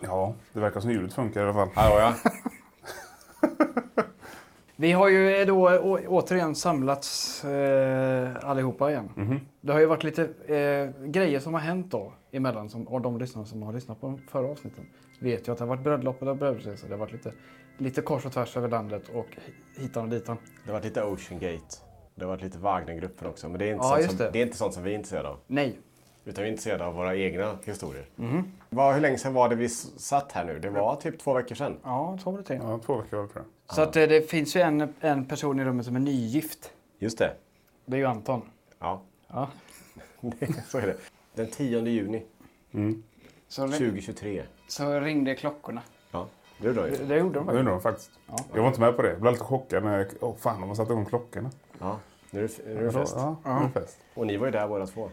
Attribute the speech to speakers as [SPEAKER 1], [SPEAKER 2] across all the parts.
[SPEAKER 1] Ja, det verkar som ljudet funkar i alla fall.
[SPEAKER 2] Hallå ja.
[SPEAKER 3] Vi har ju då å- återigen samlats eh, allihopa igen. Det har ju varit lite eh, grejer som har hänt då emellan som, och de lyssnare som har lyssnat på de förra avsnitten vet ju att det har varit bröllop och det har varit bröllopsresor. Det har varit lite, lite kors och tvärs över landet och hitan och ditan.
[SPEAKER 2] Det har varit lite Ocean Gate. Det har varit lite Wagnergruppen också. Men det är, inte
[SPEAKER 3] Ja,
[SPEAKER 2] sånt som,
[SPEAKER 3] just
[SPEAKER 2] det.
[SPEAKER 3] det.
[SPEAKER 2] är inte sånt som vi är intresserade av.
[SPEAKER 3] Nej,
[SPEAKER 2] Utan vi är intresserade av våra egna historier. Vad, hur länge sedan var det vi s- satt här nu? Det var typ två veckor sedan.
[SPEAKER 3] ja så var det tänkt.
[SPEAKER 1] Ja, två veckor var det tror jag.
[SPEAKER 3] Så att, eh, det finns ju en, en person i rummet som är nygift.
[SPEAKER 2] Just det.
[SPEAKER 3] Det är ju Anton.
[SPEAKER 2] Ja,
[SPEAKER 3] Ja.
[SPEAKER 2] Det- så är det. Den 10 juni
[SPEAKER 3] Så, ri-
[SPEAKER 2] 2023.
[SPEAKER 3] så ringde klockorna.
[SPEAKER 2] Ja, du då ju.
[SPEAKER 3] Det, det gjorde de
[SPEAKER 1] Jag
[SPEAKER 3] faktiskt.
[SPEAKER 1] undrar de faktiskt. Jag var inte med på det. Jag blev lite chockad när jag... Åh fan, de har satt igång klockorna.
[SPEAKER 2] Ja, nu är det, f- nu är det fest.
[SPEAKER 1] Ja, det är fest.
[SPEAKER 2] Och ni var ju där båda två.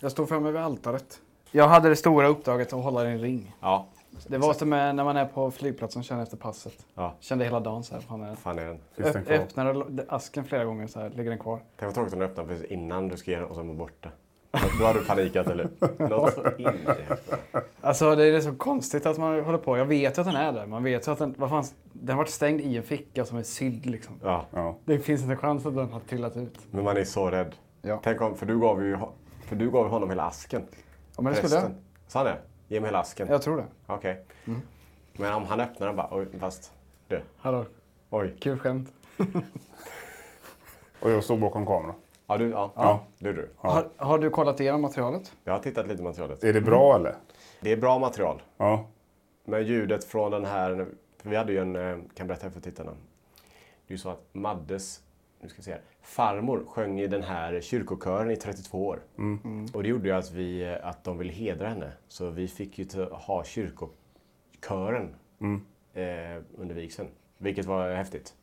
[SPEAKER 3] Jag stod framme vid altaret. Jag hade det stora uppdraget att hålla i en ring.
[SPEAKER 2] Ja.
[SPEAKER 3] Det var som eh, när man är på flygplatsen och känner efter passet.
[SPEAKER 2] Ja.
[SPEAKER 3] Kände hela dagen så här. Fan, jag
[SPEAKER 2] Fan är den.
[SPEAKER 1] Finns den
[SPEAKER 3] öpp-
[SPEAKER 1] kvar?
[SPEAKER 3] öppnade lo- asken flera gånger så här. Ligger den kvar?
[SPEAKER 2] Tänk vad tråkigt om du öppnar precis innan du ska ge den och sen var borta. Då har du panikat eller? Något så in i helvete.
[SPEAKER 3] Alltså det är så konstigt att man håller på. Jag vet ju att den är där. Man vet ju att den, vad fan, den har varit stängd i en ficka som är sydd liksom.
[SPEAKER 2] Ja.
[SPEAKER 1] Ja.
[SPEAKER 3] Det finns inte en chans att den har trillat ut.
[SPEAKER 2] Men man är så rädd.
[SPEAKER 3] Ja.
[SPEAKER 2] Tänk om, för du gav ju ho- för du gav honom hela asken.
[SPEAKER 3] Ja, men det skulle jag.
[SPEAKER 2] Resten. Sa han det? Ge mig hela asken.
[SPEAKER 3] Jag tror Mm. det.
[SPEAKER 2] Okej. Men om han öppnar den bara, oj, fast du.
[SPEAKER 3] Hallå,
[SPEAKER 2] Oj.
[SPEAKER 3] kul skämt.
[SPEAKER 1] Och jag stod bakom kameran.
[SPEAKER 2] Ja, du, ja.
[SPEAKER 1] Ja.
[SPEAKER 2] Du, du.
[SPEAKER 3] Har, har du kollat igenom materialet?
[SPEAKER 2] Jag har tittat lite på materialet.
[SPEAKER 1] Är det
[SPEAKER 2] Mm.
[SPEAKER 1] bra eller?
[SPEAKER 2] Det är bra material.
[SPEAKER 1] Ja.
[SPEAKER 2] Men ljudet från den här, för vi hade ju en, eh, kan berätta för tittarna. Det är ju så att Maddes, nu ska jag se här, farmor sjöng i den här kyrkokören i 32 år. Och det gjorde ju att, vi, eh, att de ville hedra henne. Så vi fick ju ta- ha kyrkokören eh, under vigseln. Vilket var häftigt.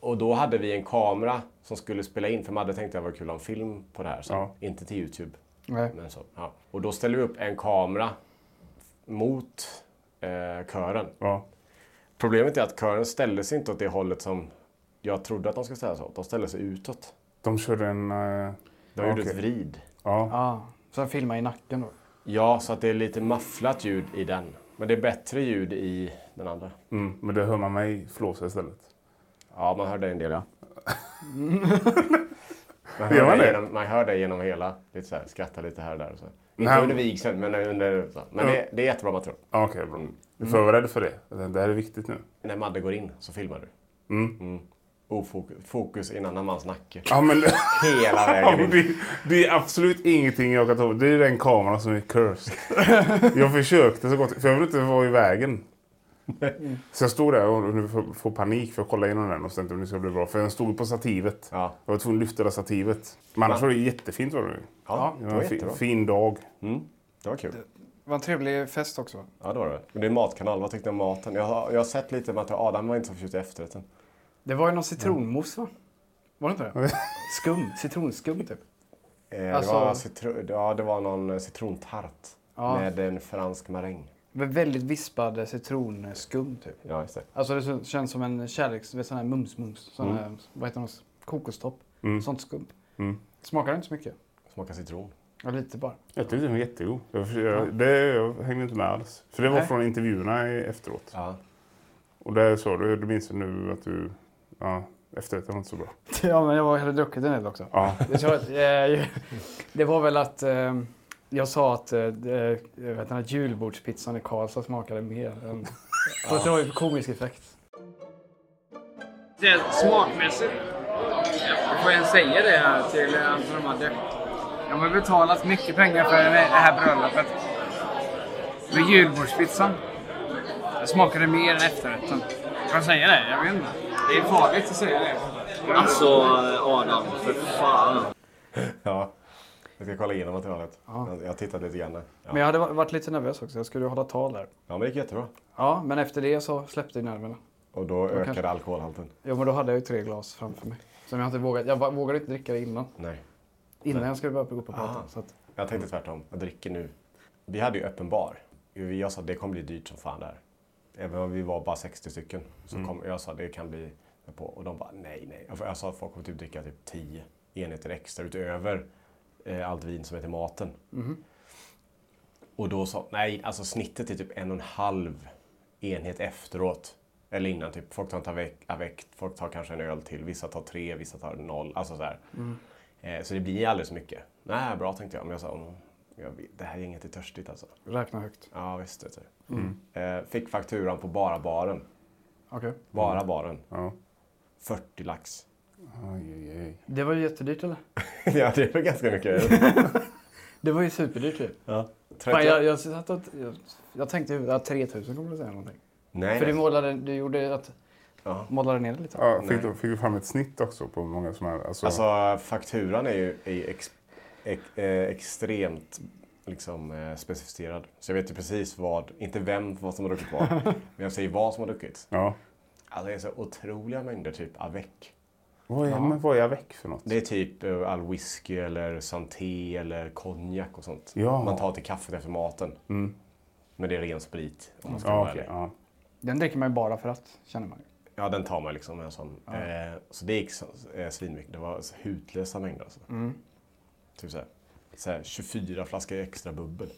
[SPEAKER 2] Och då hade vi en kamera som skulle spela in, för Madde tänkte att det var kul att ha en film på det här. Så
[SPEAKER 1] Ja.
[SPEAKER 2] Inte till Youtube.
[SPEAKER 3] Nej.
[SPEAKER 2] Men så, ja. Och då ställde vi upp en kamera mot eh, kören.
[SPEAKER 1] Ja.
[SPEAKER 2] Problemet är att kören ställde sig inte åt det hållet som jag trodde att de skulle ställa sig åt. De ställde sig utåt.
[SPEAKER 1] De körde en... eh,
[SPEAKER 2] De
[SPEAKER 1] ja,
[SPEAKER 2] gjorde
[SPEAKER 1] okej.
[SPEAKER 2] ett vrid.
[SPEAKER 1] Ja.
[SPEAKER 3] Ja. Ah, Så jag filmar i nacken då.
[SPEAKER 2] Ja, så att det är lite mafflat ljud i den. Men det är bättre ljud i den andra.
[SPEAKER 1] Mm. Men det hör man mig flåsa istället.
[SPEAKER 2] Ja, man hör det en del. Ja. man,
[SPEAKER 1] Gör
[SPEAKER 2] hör
[SPEAKER 1] man
[SPEAKER 2] det
[SPEAKER 1] det?
[SPEAKER 2] genom, man hör det genom hela. Lite så här, skratta lite här och där. Och så. Inte
[SPEAKER 1] Nej.
[SPEAKER 2] under vigseln, men under... Så. Men
[SPEAKER 1] Ja.
[SPEAKER 2] det, det är jättebra material.
[SPEAKER 1] Ja, Okej, bra.
[SPEAKER 2] Mm.
[SPEAKER 1] Jag är förberedd för det. Jag tänkte, Det här är viktigt nu.
[SPEAKER 2] När Madde går in så filmar du.
[SPEAKER 1] Mm.
[SPEAKER 2] Ofokus fokus innan mans nacke.
[SPEAKER 1] Ja, men...
[SPEAKER 2] Hela
[SPEAKER 1] Ja,
[SPEAKER 2] vägen
[SPEAKER 1] men
[SPEAKER 2] in.
[SPEAKER 1] det, det är absolut ingenting jag kan ta Det är den kameran som är cursed. Jag försökte så gott För jag vill inte vara i vägen. Så jag stod där och nu får, får panik för att kolla igenom den och tänkte om det ska bli bra. För den stod på stativet.
[SPEAKER 2] Ja.
[SPEAKER 1] Jag var tvungen att lyfta det stativet. Men annars var det jättefint var det ju.
[SPEAKER 2] Ja,
[SPEAKER 1] Det
[SPEAKER 2] det
[SPEAKER 1] var
[SPEAKER 2] var
[SPEAKER 1] en fi,
[SPEAKER 2] jättebra.
[SPEAKER 1] fin dag.
[SPEAKER 2] Det var kul.
[SPEAKER 3] Det var en trevlig fest också.
[SPEAKER 2] Ja, det var det. Men det är matkanal. Vad tyckte du om maten? Jag har, jag har sett lite om att Adam var inte så förtjust i efterrätten.
[SPEAKER 3] Det var ju någon citronmousse va? Var det inte det? Skum. Citronskum typ.
[SPEAKER 2] Eh,
[SPEAKER 3] Alltså-
[SPEAKER 2] det, var citro- ja, det var någon eh, citrontart
[SPEAKER 3] Ja.
[SPEAKER 2] med en fransk maräng.
[SPEAKER 3] Men Väldigt vispad citronskum typ.
[SPEAKER 2] Ja, just det.
[SPEAKER 3] Alltså det så- känns som en kärleks... vet, Sån här mums-mums. Sån här, vad heter det? Kokostopp. Sånt skum. Smakar inte så mycket.
[SPEAKER 2] Smakar citron.
[SPEAKER 3] Ja, lite bara.
[SPEAKER 1] Jag tyckte den var jättegod. Jag, förs- jag, det, jag hängde inte med alls. För det var
[SPEAKER 3] Nej.
[SPEAKER 1] från intervjuerna i- efteråt.
[SPEAKER 2] Ja.
[SPEAKER 1] Och där sa du, du minns ju nu att du... Ja, Efterrätten var inte så bra.
[SPEAKER 3] Ja, men jag var- hade druckit en del också.
[SPEAKER 1] Ja.
[SPEAKER 3] Jag tror att, eh, det var väl att eh, jag sa att eh, eh, jag vet, den här julbordspizzan i Karlstad smakade mer än... Ja. Det var ju komisk effekt.
[SPEAKER 4] Speciellt smakmässigt. Får jag säga det till Anton och Madde? De har betalat mycket pengar för det här bröllopet. Men julbordspizzan den smakade mer än efterrätten. Får jag säga det? Jag vet inte. Det är farligt att säga det.
[SPEAKER 5] Alltså Adam, för fan.
[SPEAKER 2] Ja. Jag ska kolla igenom materialet. Jag- Jag tittade lite grann. där. Ja.
[SPEAKER 3] Men jag hade va- varit lite nervös också. Jag skulle hålla tal där.
[SPEAKER 2] ja, men det gick jättebra.
[SPEAKER 3] Ja, men efter det så släppte ju nerverna.
[SPEAKER 2] Och då ökade
[SPEAKER 3] kanske-
[SPEAKER 2] alkoholhalten.
[SPEAKER 3] Jo, men då hade jag ju tre glas framför mig. Som jag inte vågat. Jag va- vågade inte dricka det innan.
[SPEAKER 2] Nej.
[SPEAKER 3] Innan jag skulle börja gå upp och prata. Så att,
[SPEAKER 2] Jag tänkte tvärtom. Jag dricker nu. Vi hade ju öppen bar. Jag sa det kommer bli dyrt som fan där. Även om vi var bara 60 stycken. Så
[SPEAKER 3] Mm.
[SPEAKER 2] kom, jag sa det kan bli på. Och de bara nej, nej. Jag- Jag sa att folk kommer typ dricka typ 10 enheter extra utöver eh, allt vin som är till maten. Och då sa nej, alltså snittet är typ en och en halv enhet efteråt. Eller innan, typ. Folk tar inte avec, avec, folk tar kanske en öl till. Vissa tar tre, vissa tar noll. Alltså så här.
[SPEAKER 3] Mm.
[SPEAKER 2] Eh, så det blir aldrig så mycket. Nej, bra tänkte jag. Men jag sa, "Mm, jag vet, det här gänget är törstigt alltså.
[SPEAKER 3] räkna högt.
[SPEAKER 2] Ja, visst. Vet du.
[SPEAKER 3] Mm.
[SPEAKER 2] Eh, fick fakturan på bara baren.
[SPEAKER 3] Okej.
[SPEAKER 2] Bara
[SPEAKER 3] Mm.
[SPEAKER 2] baren.
[SPEAKER 1] Ja.
[SPEAKER 2] 40 lax.
[SPEAKER 1] Aj, aj, aj.
[SPEAKER 3] Det var ju jättedyrt eller?
[SPEAKER 2] ja, det var ganska mycket.
[SPEAKER 3] Det var ju superdyrt ju.
[SPEAKER 2] ja.
[SPEAKER 3] Fan, jag, jag, satt och, jag, jag tänkte ju att 3000 kommer du säga någonting.
[SPEAKER 2] Nej,
[SPEAKER 3] För du
[SPEAKER 2] nej.
[SPEAKER 3] målade, du gjorde att,
[SPEAKER 2] Ja.
[SPEAKER 3] målade ner det lite.
[SPEAKER 1] Ja, fick, du, fick du fram ett snitt också på hur många som är... Alltså,
[SPEAKER 2] Alltså fakturan är ju, är ju ex, ex, eh, extremt liksom, eh, specificerad. Så jag vet ju precis vad, inte vem vad som har druckit vad, men jag säger vad som har druckits.
[SPEAKER 1] ja.
[SPEAKER 2] Alltså det är så otroliga mängder typ avec.
[SPEAKER 1] Vad är, men vad är jag väck för något?
[SPEAKER 2] Det är typ eh, all whisky eller santé eller konjak och sånt.
[SPEAKER 1] Ja. Mm.
[SPEAKER 2] Man tar till kaffet efter maten. Men det är ren sprit om man ska
[SPEAKER 1] ja,
[SPEAKER 2] vara
[SPEAKER 1] okej,
[SPEAKER 2] ärlig.
[SPEAKER 1] ja.
[SPEAKER 3] Den dricker man ju bara för att, känner man ju.
[SPEAKER 2] Ja, den tar man liksom. med En sån. Eh, så det gick så- eh, svinmycket. Det var så hutlösa mängder. Alltså.
[SPEAKER 1] Mm.
[SPEAKER 2] Typ så här, så här 24 flaskor extra bubbel.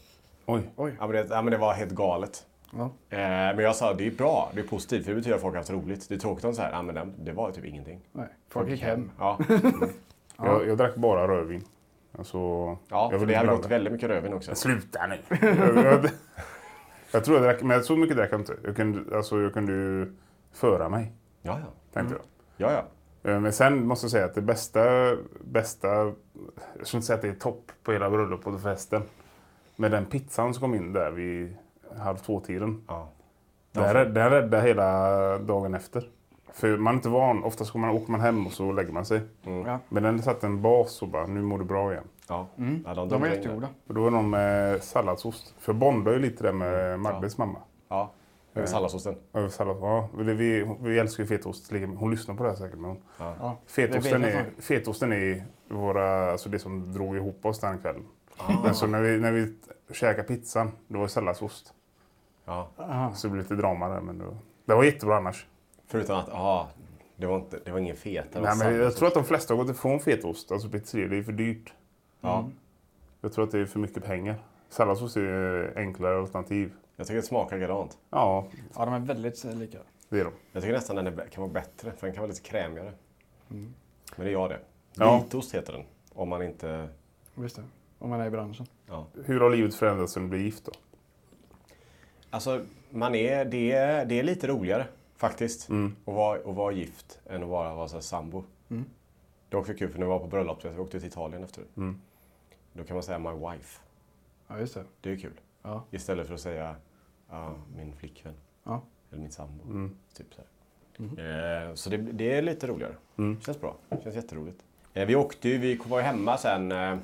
[SPEAKER 1] Oj.
[SPEAKER 2] Ja, men det, ja, men det var helt galet.
[SPEAKER 3] Ja.
[SPEAKER 2] Eh, men jag sa det är bra, det är positivt, för det betyder att folk har haft roligt. Det är tråkigt om så här, ja, men det, det var typ ingenting.
[SPEAKER 3] Nej. Folk gick hem.
[SPEAKER 2] Ja,
[SPEAKER 1] Jag, jag drack bara rödvin. Alltså,
[SPEAKER 2] ja
[SPEAKER 1] jag
[SPEAKER 2] för
[SPEAKER 1] vill
[SPEAKER 2] det
[SPEAKER 1] inte
[SPEAKER 2] hade
[SPEAKER 1] blanda.
[SPEAKER 2] gått väldigt mycket rödvin också.
[SPEAKER 1] Sluta nu! jag, jag, jag tror jag drack, men så mycket drack jag inte. Jag kunde, alltså, jag kunde ju föra mig,
[SPEAKER 2] Ja, ja.
[SPEAKER 1] tänkte jag.
[SPEAKER 2] ja, ja.
[SPEAKER 1] Eh, Men sen måste jag säga att det bästa, bästa, jag skulle inte säga att det är topp på hela bröllopet och festen. Men den pizzan som kom in där vid halv två-tiden.
[SPEAKER 2] ja.
[SPEAKER 1] Den, rädd- den räddade hela dagen efter. För man är inte van, oftast går man, åker man hem och så lägger man sig.
[SPEAKER 2] Mm.
[SPEAKER 3] Ja.
[SPEAKER 1] Men den satte en bas och bara, nu mår du bra igen.
[SPEAKER 2] ja.
[SPEAKER 1] Mm.
[SPEAKER 2] ja de,
[SPEAKER 3] De var
[SPEAKER 2] dunkade in
[SPEAKER 3] jättegoda.
[SPEAKER 1] Och då var det någon med salladsost. För jag bondade ju lite där med Magdes mamma.
[SPEAKER 2] Mm. Ja, över salladsosen.
[SPEAKER 1] Över sallad, ja, vi, vi, vi älskar ju fetaost. lika- Hon lyssnar på det här säkert. Men hon,
[SPEAKER 3] Ja.
[SPEAKER 1] Fetosten
[SPEAKER 3] Det vet jag
[SPEAKER 1] är, fetosten är våra, alltså det som drog ihop oss den kvällen. Men så när vi, när vi käkade pizzan, det var ju salladsost.
[SPEAKER 2] Ja.
[SPEAKER 1] Så det blev lite drama där. Men det, var, det var jättebra annars.
[SPEAKER 2] Förutom att, ja, det var, inte, det var ingen feta. det var
[SPEAKER 1] Nej, men jag
[SPEAKER 2] salladsos.
[SPEAKER 1] tror att de flesta har gått ifrån fetaost, alltså pizzerior. Det är för dyrt.
[SPEAKER 2] ja.
[SPEAKER 1] Jag tror att det är för mycket pengar. Salladsost är ju enklare alternativ.
[SPEAKER 2] jag tycker det smakar likadant.
[SPEAKER 1] Ja,
[SPEAKER 3] Ja, de är väldigt lika.
[SPEAKER 1] det är de.
[SPEAKER 2] Jag tycker nästan den är, bä- kan vara bättre, för den kan vara lite krämigare. Men det gör det.
[SPEAKER 1] Ja.
[SPEAKER 2] Vitost heter den, om man inte...
[SPEAKER 3] Visst det. Om man är i branschen.
[SPEAKER 2] Ja.
[SPEAKER 1] Hur har livet förändrats sen du blev gift då?
[SPEAKER 2] Alltså, man är, det, är- det är lite roligare faktiskt att, vara, att vara gift än att bara vara så här, sambo. Det var också kul för när vi var på bröllopsresa, vi åkte till Italien efter. Då kan man säga my wife.
[SPEAKER 3] Ja, just det.
[SPEAKER 2] Det är kul.
[SPEAKER 3] Ja.
[SPEAKER 2] Istället för att säga ja, min flickvän
[SPEAKER 3] Ja.
[SPEAKER 2] eller min sambo. Typ så här. Eh, så det, det är lite roligare. Känns bra. Känns jätteroligt. Eh, vi åkte ju, vi var ju hemma sen eh,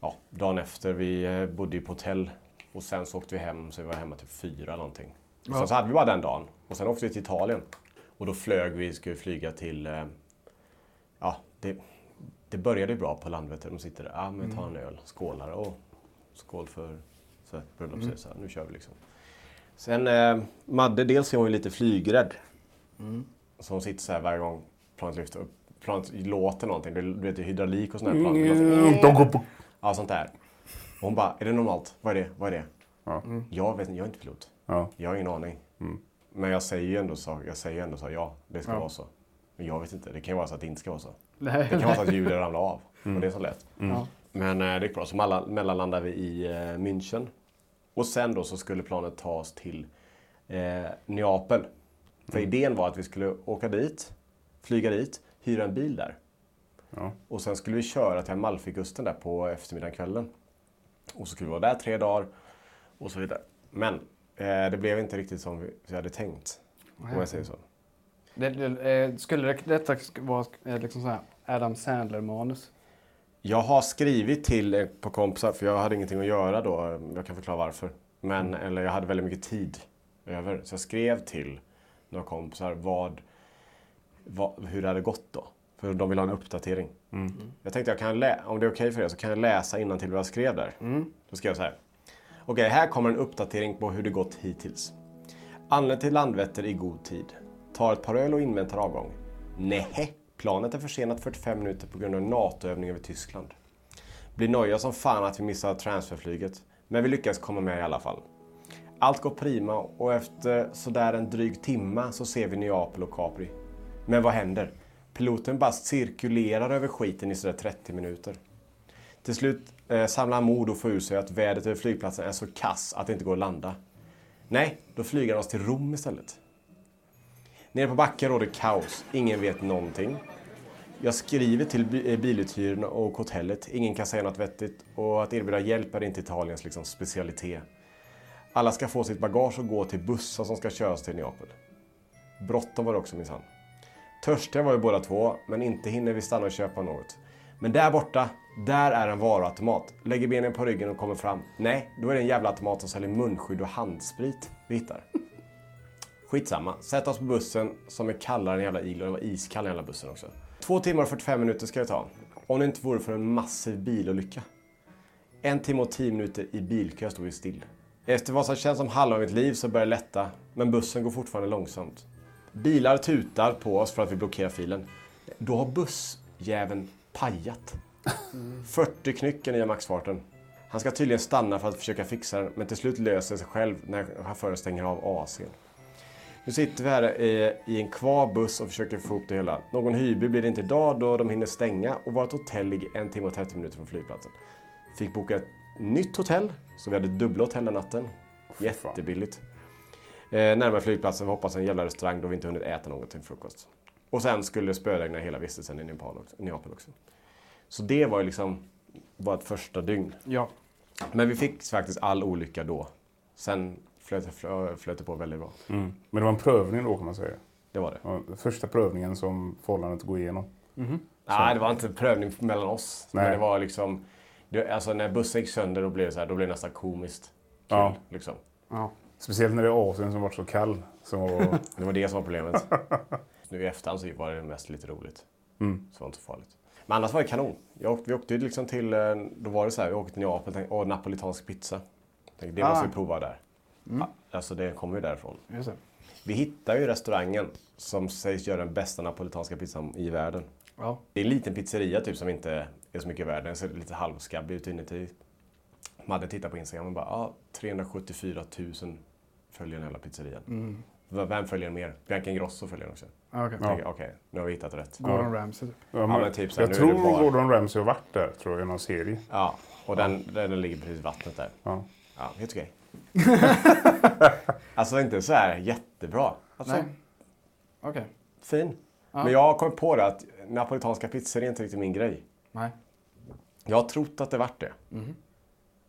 [SPEAKER 2] ja, dagen efter. Vi eh, bodde ju på hotell och sen så åkte vi hem. Så vi var hemma typ fyra någonting. Och sen så hade vi bara den dagen och sen åkte vi till Italien. Och då flög vi, skulle flyga till eh, ja, det, det började ju bra på Landvetter. De sitter där, ah, men ta en öl, skålar och skål för så här, bröllopsresa. Nu kör vi liksom. Sen eh, Madde, dels är hon ju lite flygrädd. Så hon sitter så här varje gång planet lyfter upp. Planet låter någonting. Det, du vet, det är hydraulik och sådana här plan. Det låter-
[SPEAKER 1] mm.
[SPEAKER 2] Ja, sånt där. Och hon bara, är det normalt? Vad är det? Vad är det? Mm.
[SPEAKER 1] Ja.
[SPEAKER 2] Jag vet inte, jag är inte pilot.
[SPEAKER 1] Ja.
[SPEAKER 2] Jag har ingen aning. Men jag säger ju ändå så, jag säger ju ändå så, ja, det ska vara så. Men jag vet inte, det kan ju vara så att det inte ska vara så.
[SPEAKER 3] Nej.
[SPEAKER 2] Det kan vara så att ljudet ramlar av. Och det är så lätt.
[SPEAKER 3] Ja.
[SPEAKER 2] Men eh, det gick bra. Så malla- mellanlandade vi i eh, München. Och sen då så skulle planet ta oss till eh, Neapel. För idén var att vi skulle åka dit, flyga dit, hyra en bil där.
[SPEAKER 1] Ja.
[SPEAKER 2] Och sen skulle vi köra till Amalfikusten där på eftermiddagen, kvällen. Och så skulle vi vara där tre dagar och så vidare. Men eh, det blev inte riktigt som vi, vi hade tänkt. Om jag säger så.
[SPEAKER 3] Det, det, eh, skulle det, detta sk- vara eh, liksom så här Adam Sandler-manus?
[SPEAKER 2] Jag har skrivit till ett par kompisar, för jag hade ingenting att göra då. Jag kan förklara varför. Men, eller jag hade väldigt mycket tid över. Så jag skrev till några kompisar vad, vad, hur det hade gått då. För de ville ha en uppdatering. Jag tänkte, jag kan lä- om det är okej för er så kan jag läsa innan till vad jag skrev där. Då skrev jag så här. Okej, här kommer en uppdatering på hur det gått hittills. Anländer till Landvetter i god tid. Tar ett par öl och inväntar avgång. Nähä, planet är försenat 45 minuter på grund av NATO-övning över Tyskland. Blir nöja som fan att vi missar transferflyget, men vi lyckas komma med i alla fall. Allt går prima och efter sådär en dryg timma så ser vi Neapel och Capri. Men vad händer? Piloten bara cirkulerar över skiten i sådär 30 minuter. Till slut eh, samlar han mod och får ur sig att vädret över flygplatsen är så kass att det inte går att landa. Nej, då flyger han oss till Rom istället. Nere på backen råder kaos. Ingen vet någonting. Jag skriver till bi- eh, biluthyrarna och hotellet. Ingen kan säga något vettigt och att erbjuda hjälp är inte Italiens liksom, specialitet. Alla ska få sitt bagage och gå till bussar som ska köras till Neapel. Bråttom var det också minsann. Törstiga var ju båda två, men inte hinner vi stanna och köpa något. Men där borta, där är en varuautomat. Lägger benen på ryggen och kommer fram. Nej, då är det en jävla automat som säljer munskydd och handsprit vi hittar. Skitsamma, sätt oss på bussen som är kallare än jävla iglo. Den var iskall den jävla bussen också. Två timmar och 45 minuter ska det ta. Om det inte vore för en massiv bilolycka. En timme och tio minuter i bilkö stod vi still. Efter vad som känns som halva mitt liv så börjar det lätta, men bussen går fortfarande långsamt. Bilar tutar på oss för att vi blockerar filen. Då har bussjäveln pajat. 40 knycken i maxfarten. Han ska tydligen stanna för att försöka fixa den, men till slut löser det sig själv när chauffören stänger av AC'n. Nu sitter vi här i, i en kvar buss och försöker få ihop det hela. Någon hyrbil blir det inte idag då de hinner stänga och vårt hotell ligger en timme och 30 minuter från flygplatsen. Fick boka ett nytt hotell, så vi hade dubbla hotell den natten. Jättebilligt. Eh, närmare flygplatsen, vi hoppas en jävla restaurang då vi inte hunnit äta något till frukost. Och sen skulle det spöregna hela vistelsen i Nepal också, Neapel också. Så det var ju liksom vårt första dygn.
[SPEAKER 3] Ja.
[SPEAKER 2] Men vi fick faktiskt all olycka då. Sen flöt, flö- flöt det på väldigt bra.
[SPEAKER 1] mm. Men det var en prövning då kan man säga.
[SPEAKER 2] Det var det.
[SPEAKER 1] Det var Första prövningen som förhållandet går igenom.
[SPEAKER 2] Nej, det var inte en prövning mellan oss. Men
[SPEAKER 1] Nej.
[SPEAKER 2] det var liksom... Det, alltså när bussen gick sönder då blev det, så här, då blev det nästan komiskt. Kul,
[SPEAKER 1] Ja.
[SPEAKER 2] liksom.
[SPEAKER 3] ja.
[SPEAKER 1] Speciellt när det är Asien som varit så kall. Så,
[SPEAKER 2] Det var det som var problemet. nu i efterhand så var det mest lite roligt. Så det var inte så farligt. Men annars var det kanon. Jag åkte, vi åkte ju liksom till... eh, Då var det så här, vi åkte till Neapel och tänkte, åh, napolitansk pizza. Tänkte, det måste vi prova där. Ja, Alltså det kommer ju därifrån.
[SPEAKER 3] Just det.
[SPEAKER 2] Vi hittar ju restaurangen som sägs göra den bästa napolitanska pizzan i världen.
[SPEAKER 3] Ja.
[SPEAKER 2] Det är en liten pizzeria typ som inte är så mycket värd. Den ser lite halvskabbig ut inuti. Madde tittar på Instagram och bara, ah, 374 000 följer den hela pizzerian. V- Vem följer den mer? Bianca Ingrosso följer den också.
[SPEAKER 3] Ja, ah, Okej.
[SPEAKER 2] Jag tänker, Okej, nu har vi hittat rätt.
[SPEAKER 3] Gordon Ramsay typ.
[SPEAKER 1] ja,
[SPEAKER 2] men typ så här,
[SPEAKER 1] jag
[SPEAKER 2] nu
[SPEAKER 1] tror
[SPEAKER 2] är det bara-
[SPEAKER 1] Gordon Ramsay har varit där tror jag, i någon serie.
[SPEAKER 2] Ja, och den, den, den ligger precis i vattnet där.
[SPEAKER 1] Ja.
[SPEAKER 2] Ja, helt okej. alltså inte så här jättebra. Alltså,
[SPEAKER 3] Nej. Okej.
[SPEAKER 2] fin. Men jag har kommit på det att napolitanska pizzor är inte riktigt min grej.
[SPEAKER 3] Nej.
[SPEAKER 2] Jag har trott att det vart det.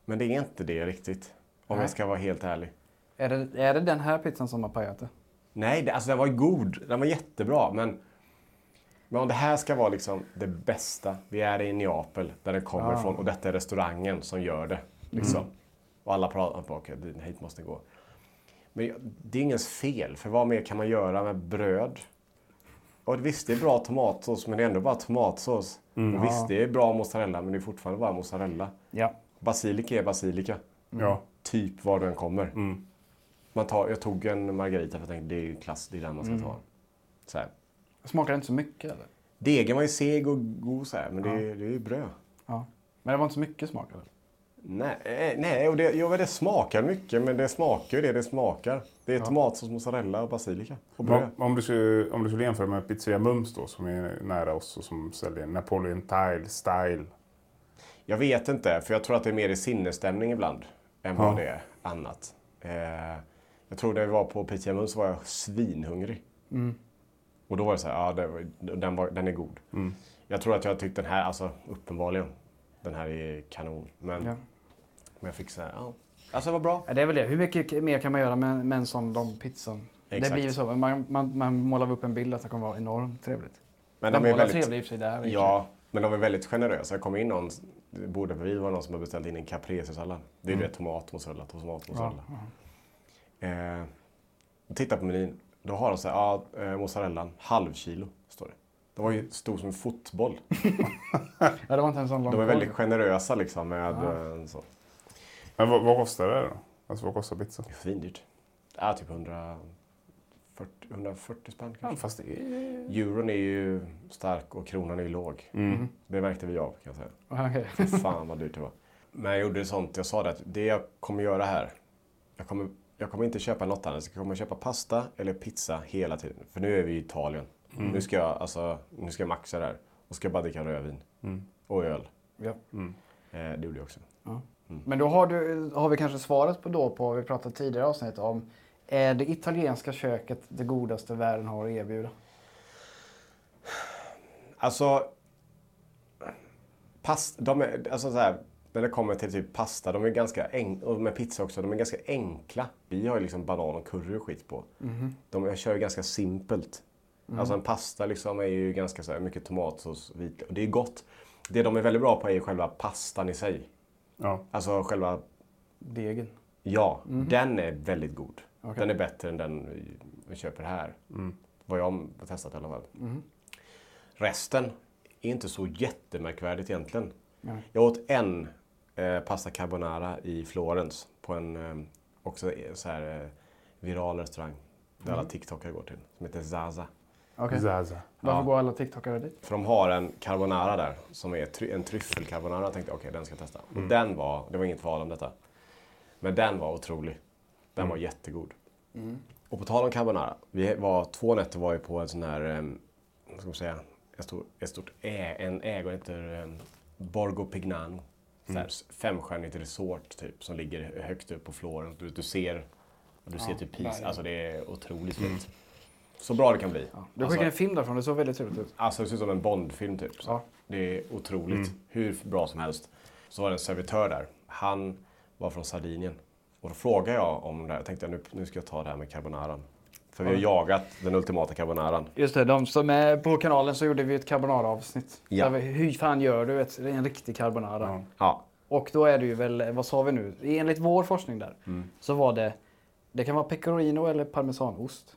[SPEAKER 2] Men det är inte det riktigt. Om
[SPEAKER 3] Nej.
[SPEAKER 2] jag ska vara helt ärlig.
[SPEAKER 3] Är det, är det den här pizzan som har pajat det?
[SPEAKER 2] Nej, det, alltså den var ju god. Den var jättebra. Men, men om det här ska vara liksom det bästa. Vi är i Neapel, där den kommer ifrån. Och detta är restaurangen som gör det. Liksom. Och alla pratar om okej, dit- hit måste ni gå. Men jag- det är ingens fel. För vad mer kan man göra med bröd? Och visst, det är bra tomatsås, men det är ändå bara tomatsås. Och visst, det är bra mozzarella, men det är fortfarande bara mozzarella.
[SPEAKER 3] Ja.
[SPEAKER 2] Basilika är basilika.
[SPEAKER 1] Ja.
[SPEAKER 2] Typ var den kommer. Man tar, jag tog en margarita för jag tänkte det är ju klass, det är den man ska ta. Så här.
[SPEAKER 3] Smakar det inte så mycket eller?
[SPEAKER 2] Degen var ju seg och god så här, men det, är- det är ju bröd.
[SPEAKER 3] Ja. Men det var inte så mycket smak eller?
[SPEAKER 2] Nej, eh, nej och det, jo, det smakar mycket, men det smakar ju det det smakar. Det är tomatsås, mozzarella och basilika. Och bröd.
[SPEAKER 1] Om, om, du skulle, om du skulle jämföra med Pizzeria Mums då, som är nära oss och som säljer Napoleon Tile Style.
[SPEAKER 2] Jag vet inte, för jag tror att det är mer i sinnesstämning ibland än vad det är annat. Eh, jag tror när vi var på Pizza Mun så var jag svinhungrig. Och då var det så här, ja, det, var- den, var, den är god. Jag tror att jag tyckte den här, alltså uppenbarligen, den här är kanon. Men,
[SPEAKER 3] Ja.
[SPEAKER 2] men jag fick så här, ja. Alltså det var bra.
[SPEAKER 3] Ja, det är väl det. Hur mycket mer kan man göra med, med en sån dom pizzan?
[SPEAKER 2] Exakt.
[SPEAKER 3] Det blir ju så. Man, man, man målar upp en bild att det kommer vara enormt trevligt.
[SPEAKER 2] Men
[SPEAKER 3] de
[SPEAKER 2] de är
[SPEAKER 3] målar
[SPEAKER 2] väldigt-
[SPEAKER 3] trevligt i och för sig där.
[SPEAKER 2] Ja, men de är väldigt generösa. Jag kom in någon, det borde vi vara någon som har beställt in en caprese-sallad. Det är ju det, tomat, mozzarella, tomat, mozzarella. Eh, titta på menyn. Då har de så här, ja, eh, mozzarellan, halv kilo, står det. Den var ju stor som en fotboll.
[SPEAKER 3] Ja, det var inte en sån lång
[SPEAKER 2] De är
[SPEAKER 3] korv.
[SPEAKER 2] väldigt generösa liksom med eh, så.
[SPEAKER 1] Men vad, vad kostar det då? Alltså vad kostar pizza?
[SPEAKER 2] Det är Svindyrt. Ja, typ 140, 140 spänn kanske.
[SPEAKER 1] Fast det är...
[SPEAKER 2] Euron är ju stark och kronan är ju låg. Det märkte vi av kan jag säga.
[SPEAKER 3] Ja, okej.
[SPEAKER 2] Fy Fan vad dyrt det var. Men jag gjorde sånt, jag sa det att det jag kommer göra här, jag kommer, jag kommer inte köpa något annat. Jag kommer köpa pasta eller pizza hela tiden. För nu är vi i Italien. Nu, ska jag, alltså, nu ska jag maxa det här. Och ska jag bara dricka rödvin. Och öl.
[SPEAKER 3] Ja.
[SPEAKER 2] Eh, det gjorde jag också.
[SPEAKER 3] Men då har, du, har vi kanske svaret på då på, vi pratade tidigare avsnitt om, är det italienska köket det godaste världen har att erbjuda?
[SPEAKER 2] Alltså, past, de är, alltså så här, när det kommer till typ pasta, de är ganska enk, och med pizza också, de är ganska enkla. Vi har ju liksom banan och curry och skit på. De jag kör ju ganska simpelt. Alltså en pasta liksom är ju ganska så här, mycket tomatsås, vitlök. Och det är gott. Det de är väldigt bra på är ju själva pastan i sig.
[SPEAKER 1] Ja.
[SPEAKER 2] Alltså själva,
[SPEAKER 3] Degen.
[SPEAKER 2] ja, den är väldigt god. Den är bättre än den vi, vi köper här. Vad jag har testat i alla fall. Resten är inte så jättemärkvärdigt egentligen. Jag åt en eh, pasta carbonara i Florens på en eh, också eh, så här, eh, viral restaurang där alla TikTokare går till, som heter Zaza.
[SPEAKER 3] Okej.
[SPEAKER 1] Zaza.
[SPEAKER 3] Varför går alla TikTokare dit?
[SPEAKER 2] För de har en carbonara där som är try- en tryffelcarbonara. Jag tänkte okej, den ska jag testa. Och den var, det var inget val om detta. Men den var otrolig. Den var jättegod. Och på tal om carbonara. Vi var, två nätter var ju på en sån här, eh, vad ska man säga, ett stort, ett stort ä, en ägare heter eh, Borgo Pignano. Så här, s- Femstjärnigt resort typ som ligger högt upp på Florens. Du, du ser, du ser typ Pisa. Alltså det är otroligt fint. Så bra det kan bli.
[SPEAKER 3] Du
[SPEAKER 2] Alltså-
[SPEAKER 3] skickade en film därifrån, det såg väldigt trevligt ut.
[SPEAKER 2] Alltså det ser ut som en Bondfilm typ. Så.
[SPEAKER 3] Ja.
[SPEAKER 2] Det är otroligt. Hur bra som helst. Så var det en servitör där. Han var från Sardinien. Och då frågade jag om det här. Jag tänkte nu, nu ska jag ta det här med carbonaran. För vi har jagat den ultimata carbonaran.
[SPEAKER 3] Just det, de som är på kanalen så gjorde vi ett carbonara-avsnitt.
[SPEAKER 2] Ja.
[SPEAKER 3] Där vi- Hur fan gör du ett, en riktig carbonara?
[SPEAKER 2] Ja,
[SPEAKER 3] Och då är det ju väl, vad sa vi nu? Enligt vår forskning där så var det, det kan vara pecorino eller parmesanost.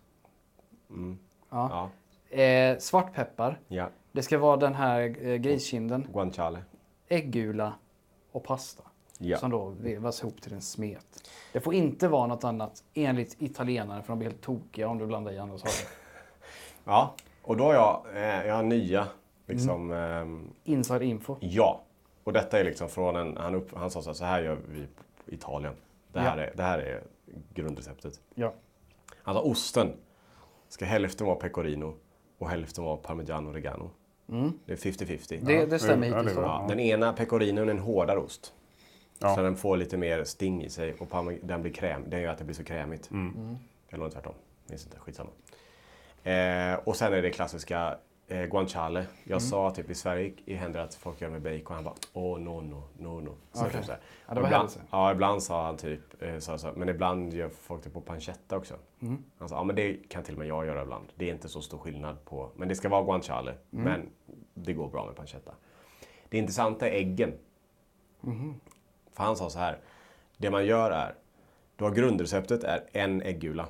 [SPEAKER 3] Ja.
[SPEAKER 2] ja,
[SPEAKER 3] Eh, svartpeppar.
[SPEAKER 2] ja.
[SPEAKER 3] Det ska vara den här eh, griskinden,
[SPEAKER 2] Guanciale.
[SPEAKER 3] äggula och pasta.
[SPEAKER 2] Ja.
[SPEAKER 3] Som då vevas ihop till en smet. Det får inte vara något annat enligt italienare för de blir helt tokiga om du blandar i andra saker.
[SPEAKER 2] Ja, och då har jag, eh, jag har nya liksom ehm,
[SPEAKER 3] Inside info.
[SPEAKER 2] Ja. Och detta är liksom från en... Han, upp, han sa så här, så här gör vi i Italien. Det här, är, det här är grundreceptet.
[SPEAKER 3] Ja.
[SPEAKER 2] Alltså osten ska hälften vara pecorino och hälften vara parmigiano regano. Det är 50-50.
[SPEAKER 3] Det, det stämmer
[SPEAKER 1] Ja, det är
[SPEAKER 3] hittills.
[SPEAKER 1] bra.
[SPEAKER 3] då.
[SPEAKER 2] Ja, den ena pecorinon är en hårdare ost. Så den får lite mer sting i sig och parmi- den blir kräm. Den gör att det blir så krämigt. Eller var det tvärtom. Minns inte. Skitsamma. Eh, och sen är det klassiska eh, guanciale. Jag
[SPEAKER 3] Mm.
[SPEAKER 2] sa typ i Sverige i händer att folk gör med bacon. Han bara åh no no no no. Så typ så här.
[SPEAKER 3] Ja, det var
[SPEAKER 2] Och ibland,
[SPEAKER 3] hälsa.
[SPEAKER 2] ja, ibland sa han typ eh, så, så, men ibland gör folk det på pancetta också.
[SPEAKER 3] Mm.
[SPEAKER 2] Han sa ja, men det kan till och med jag göra ibland. Det är inte så stor skillnad på, men det ska vara guanciale.
[SPEAKER 3] Mm.
[SPEAKER 2] Men det går bra med pancetta. Det intressanta är äggen. För han sa så här. Det man gör är, du har grundreceptet är en äggula.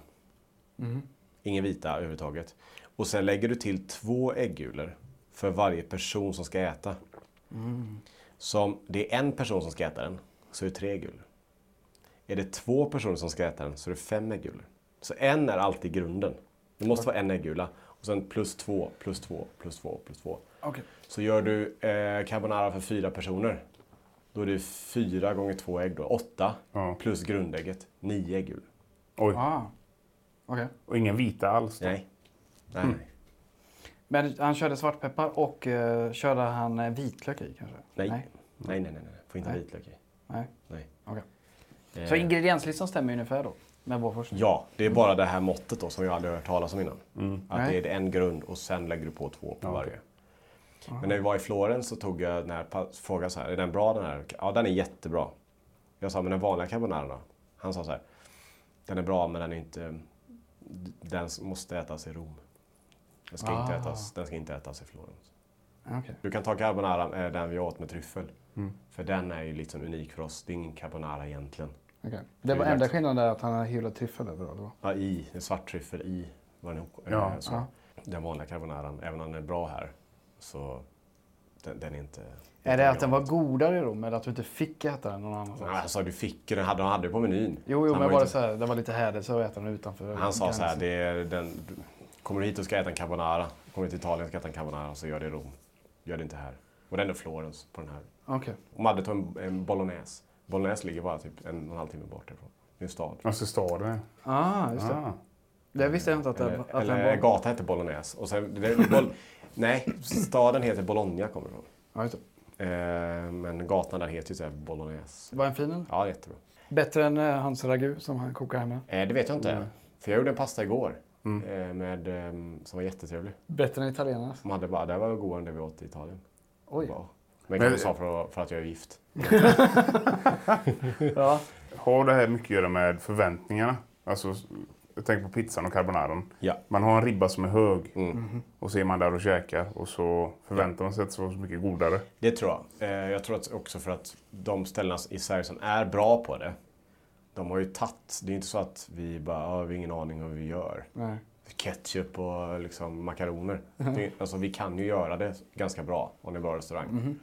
[SPEAKER 2] Ingen vita överhuvudtaget. Och sen lägger du till två äggulor för varje person som ska äta. Så om det är en person som ska äta den så är det tre äggulor. Är det två personer som ska äta den så är det fem äggulor. Så en är alltid grunden. Det måste vara en äggula. Och sen plus två, plus två, plus två, plus två.
[SPEAKER 3] Okej.
[SPEAKER 2] Så gör du eh, carbonara för fyra personer Då är det fyra gånger två ägg då. Åtta
[SPEAKER 1] Ja.
[SPEAKER 2] plus grundägget. Nio ägg.
[SPEAKER 1] Oj.
[SPEAKER 3] Ah. Okej.
[SPEAKER 1] Och inga vita alls. då.
[SPEAKER 2] Nej. Nej. nej.
[SPEAKER 3] Men han körde svartpeppar och eh, körde han eh, vitlök i kanske?
[SPEAKER 2] Nej.
[SPEAKER 3] Nej.
[SPEAKER 2] Nej, nej, nej, nej. Får inte ha vitlök i.
[SPEAKER 3] Nej.
[SPEAKER 2] Nej.
[SPEAKER 3] Okej.
[SPEAKER 2] Eh,
[SPEAKER 3] Så ingredienslistan stämmer ungefär då? Med vår forskning?
[SPEAKER 2] Ja, det är bara det här måttet då som jag aldrig hört talas om innan. Att
[SPEAKER 3] Nej.
[SPEAKER 2] det är en grund och sen lägger du på två på varje. Men när vi var i Florens så tog jag den här pa- frågan så här, är den bra den här? Ja, den är jättebra. Jag sa, men den vanliga carbonaran då? Han sa så här, den är bra men den är inte, den måste ätas i Rom. Den ska, inte, ätas, den ska inte ätas i Florens.
[SPEAKER 3] Okej.
[SPEAKER 2] Du kan ta carbonara, eh, den vi åt med tryffel. För den är ju liksom unik för oss. Det är ingen carbonara egentligen.
[SPEAKER 3] Okej. Det var
[SPEAKER 2] Det är
[SPEAKER 3] enda
[SPEAKER 2] dags.
[SPEAKER 3] skillnaden där att han har hyllat tryffel överallt va?
[SPEAKER 2] Ja, i, en svart tryffel i var den, ihop- eh,
[SPEAKER 1] Ja,
[SPEAKER 2] så. Den vanliga carbonaran, även om den är bra här, så den, den är inte...
[SPEAKER 3] Är det att den var godare i Rom eller att du inte fick äta den någon annanstans?
[SPEAKER 2] Nej, Alltså du fick ju den, hade, de hade ju på menyn.
[SPEAKER 3] Jo, jo
[SPEAKER 2] Han
[SPEAKER 3] men
[SPEAKER 2] ju
[SPEAKER 3] var det
[SPEAKER 2] inte-
[SPEAKER 3] så här, det var lite härligt så att äta den utanför.
[SPEAKER 2] Han sa så här, det är den, du- kommer du hit och ska äta en carbonara, kommer du till Italien och ska äta en carbonara, så gör det i Rom. Gör det inte här. Och det är ändå Florens på den här.
[SPEAKER 3] Okej.
[SPEAKER 2] Och Madde tog en, en bolognese. Bolognese ligger bara typ en och en halv timme bort ifrån. Det är en stad.
[SPEAKER 1] Alltså staden. är-
[SPEAKER 3] Ah, just det.
[SPEAKER 1] Ah.
[SPEAKER 3] Det visste jag inte att, det,
[SPEAKER 2] Eller,
[SPEAKER 3] att
[SPEAKER 2] Eh, eller
[SPEAKER 3] den var...
[SPEAKER 2] gata heter Bolognese. Och sen, det, bol, nej, staden heter Bologna kommer det ifrån.
[SPEAKER 3] Ja, just det.
[SPEAKER 2] Eh, men gatan där heter ju så här Bolognese.
[SPEAKER 3] Var en fin en?
[SPEAKER 2] Ja, det är jättebra.
[SPEAKER 3] Bättre än eh, hans ragu som han kokar hemma?
[SPEAKER 2] Eh, det vet jag inte. För jag gjorde en pasta igår. Eh, med, ehm, som var jättetrevlig.
[SPEAKER 3] Bättre än italienarnas?
[SPEAKER 2] De hade bara, det här var godare än det vi åt i Italien.
[SPEAKER 3] Oj.
[SPEAKER 2] Bara, men kanske sa för, att- för att jag är gift.
[SPEAKER 3] Ja.
[SPEAKER 1] Har det här mycket att göra med förväntningarna? Alltså, jag tänker på pizzan och carbonaran.
[SPEAKER 2] Ja. Mm.
[SPEAKER 1] Man har en ribba som är hög och så är man där och käkar och så förväntar man sig att det ska vara så mycket godare.
[SPEAKER 2] Det tror jag. Eh, jag tror att också för att de ställena i Sverige som är bra på det, de har ju tagit. Det är inte så att vi bara, "Ja, vi har ingen aning om vad vi gör.
[SPEAKER 3] Nej.
[SPEAKER 2] ketchup och liksom makaroner. Det, alltså, vi kan ju göra det ganska bra om det är bra restaurang.
[SPEAKER 3] Mhm.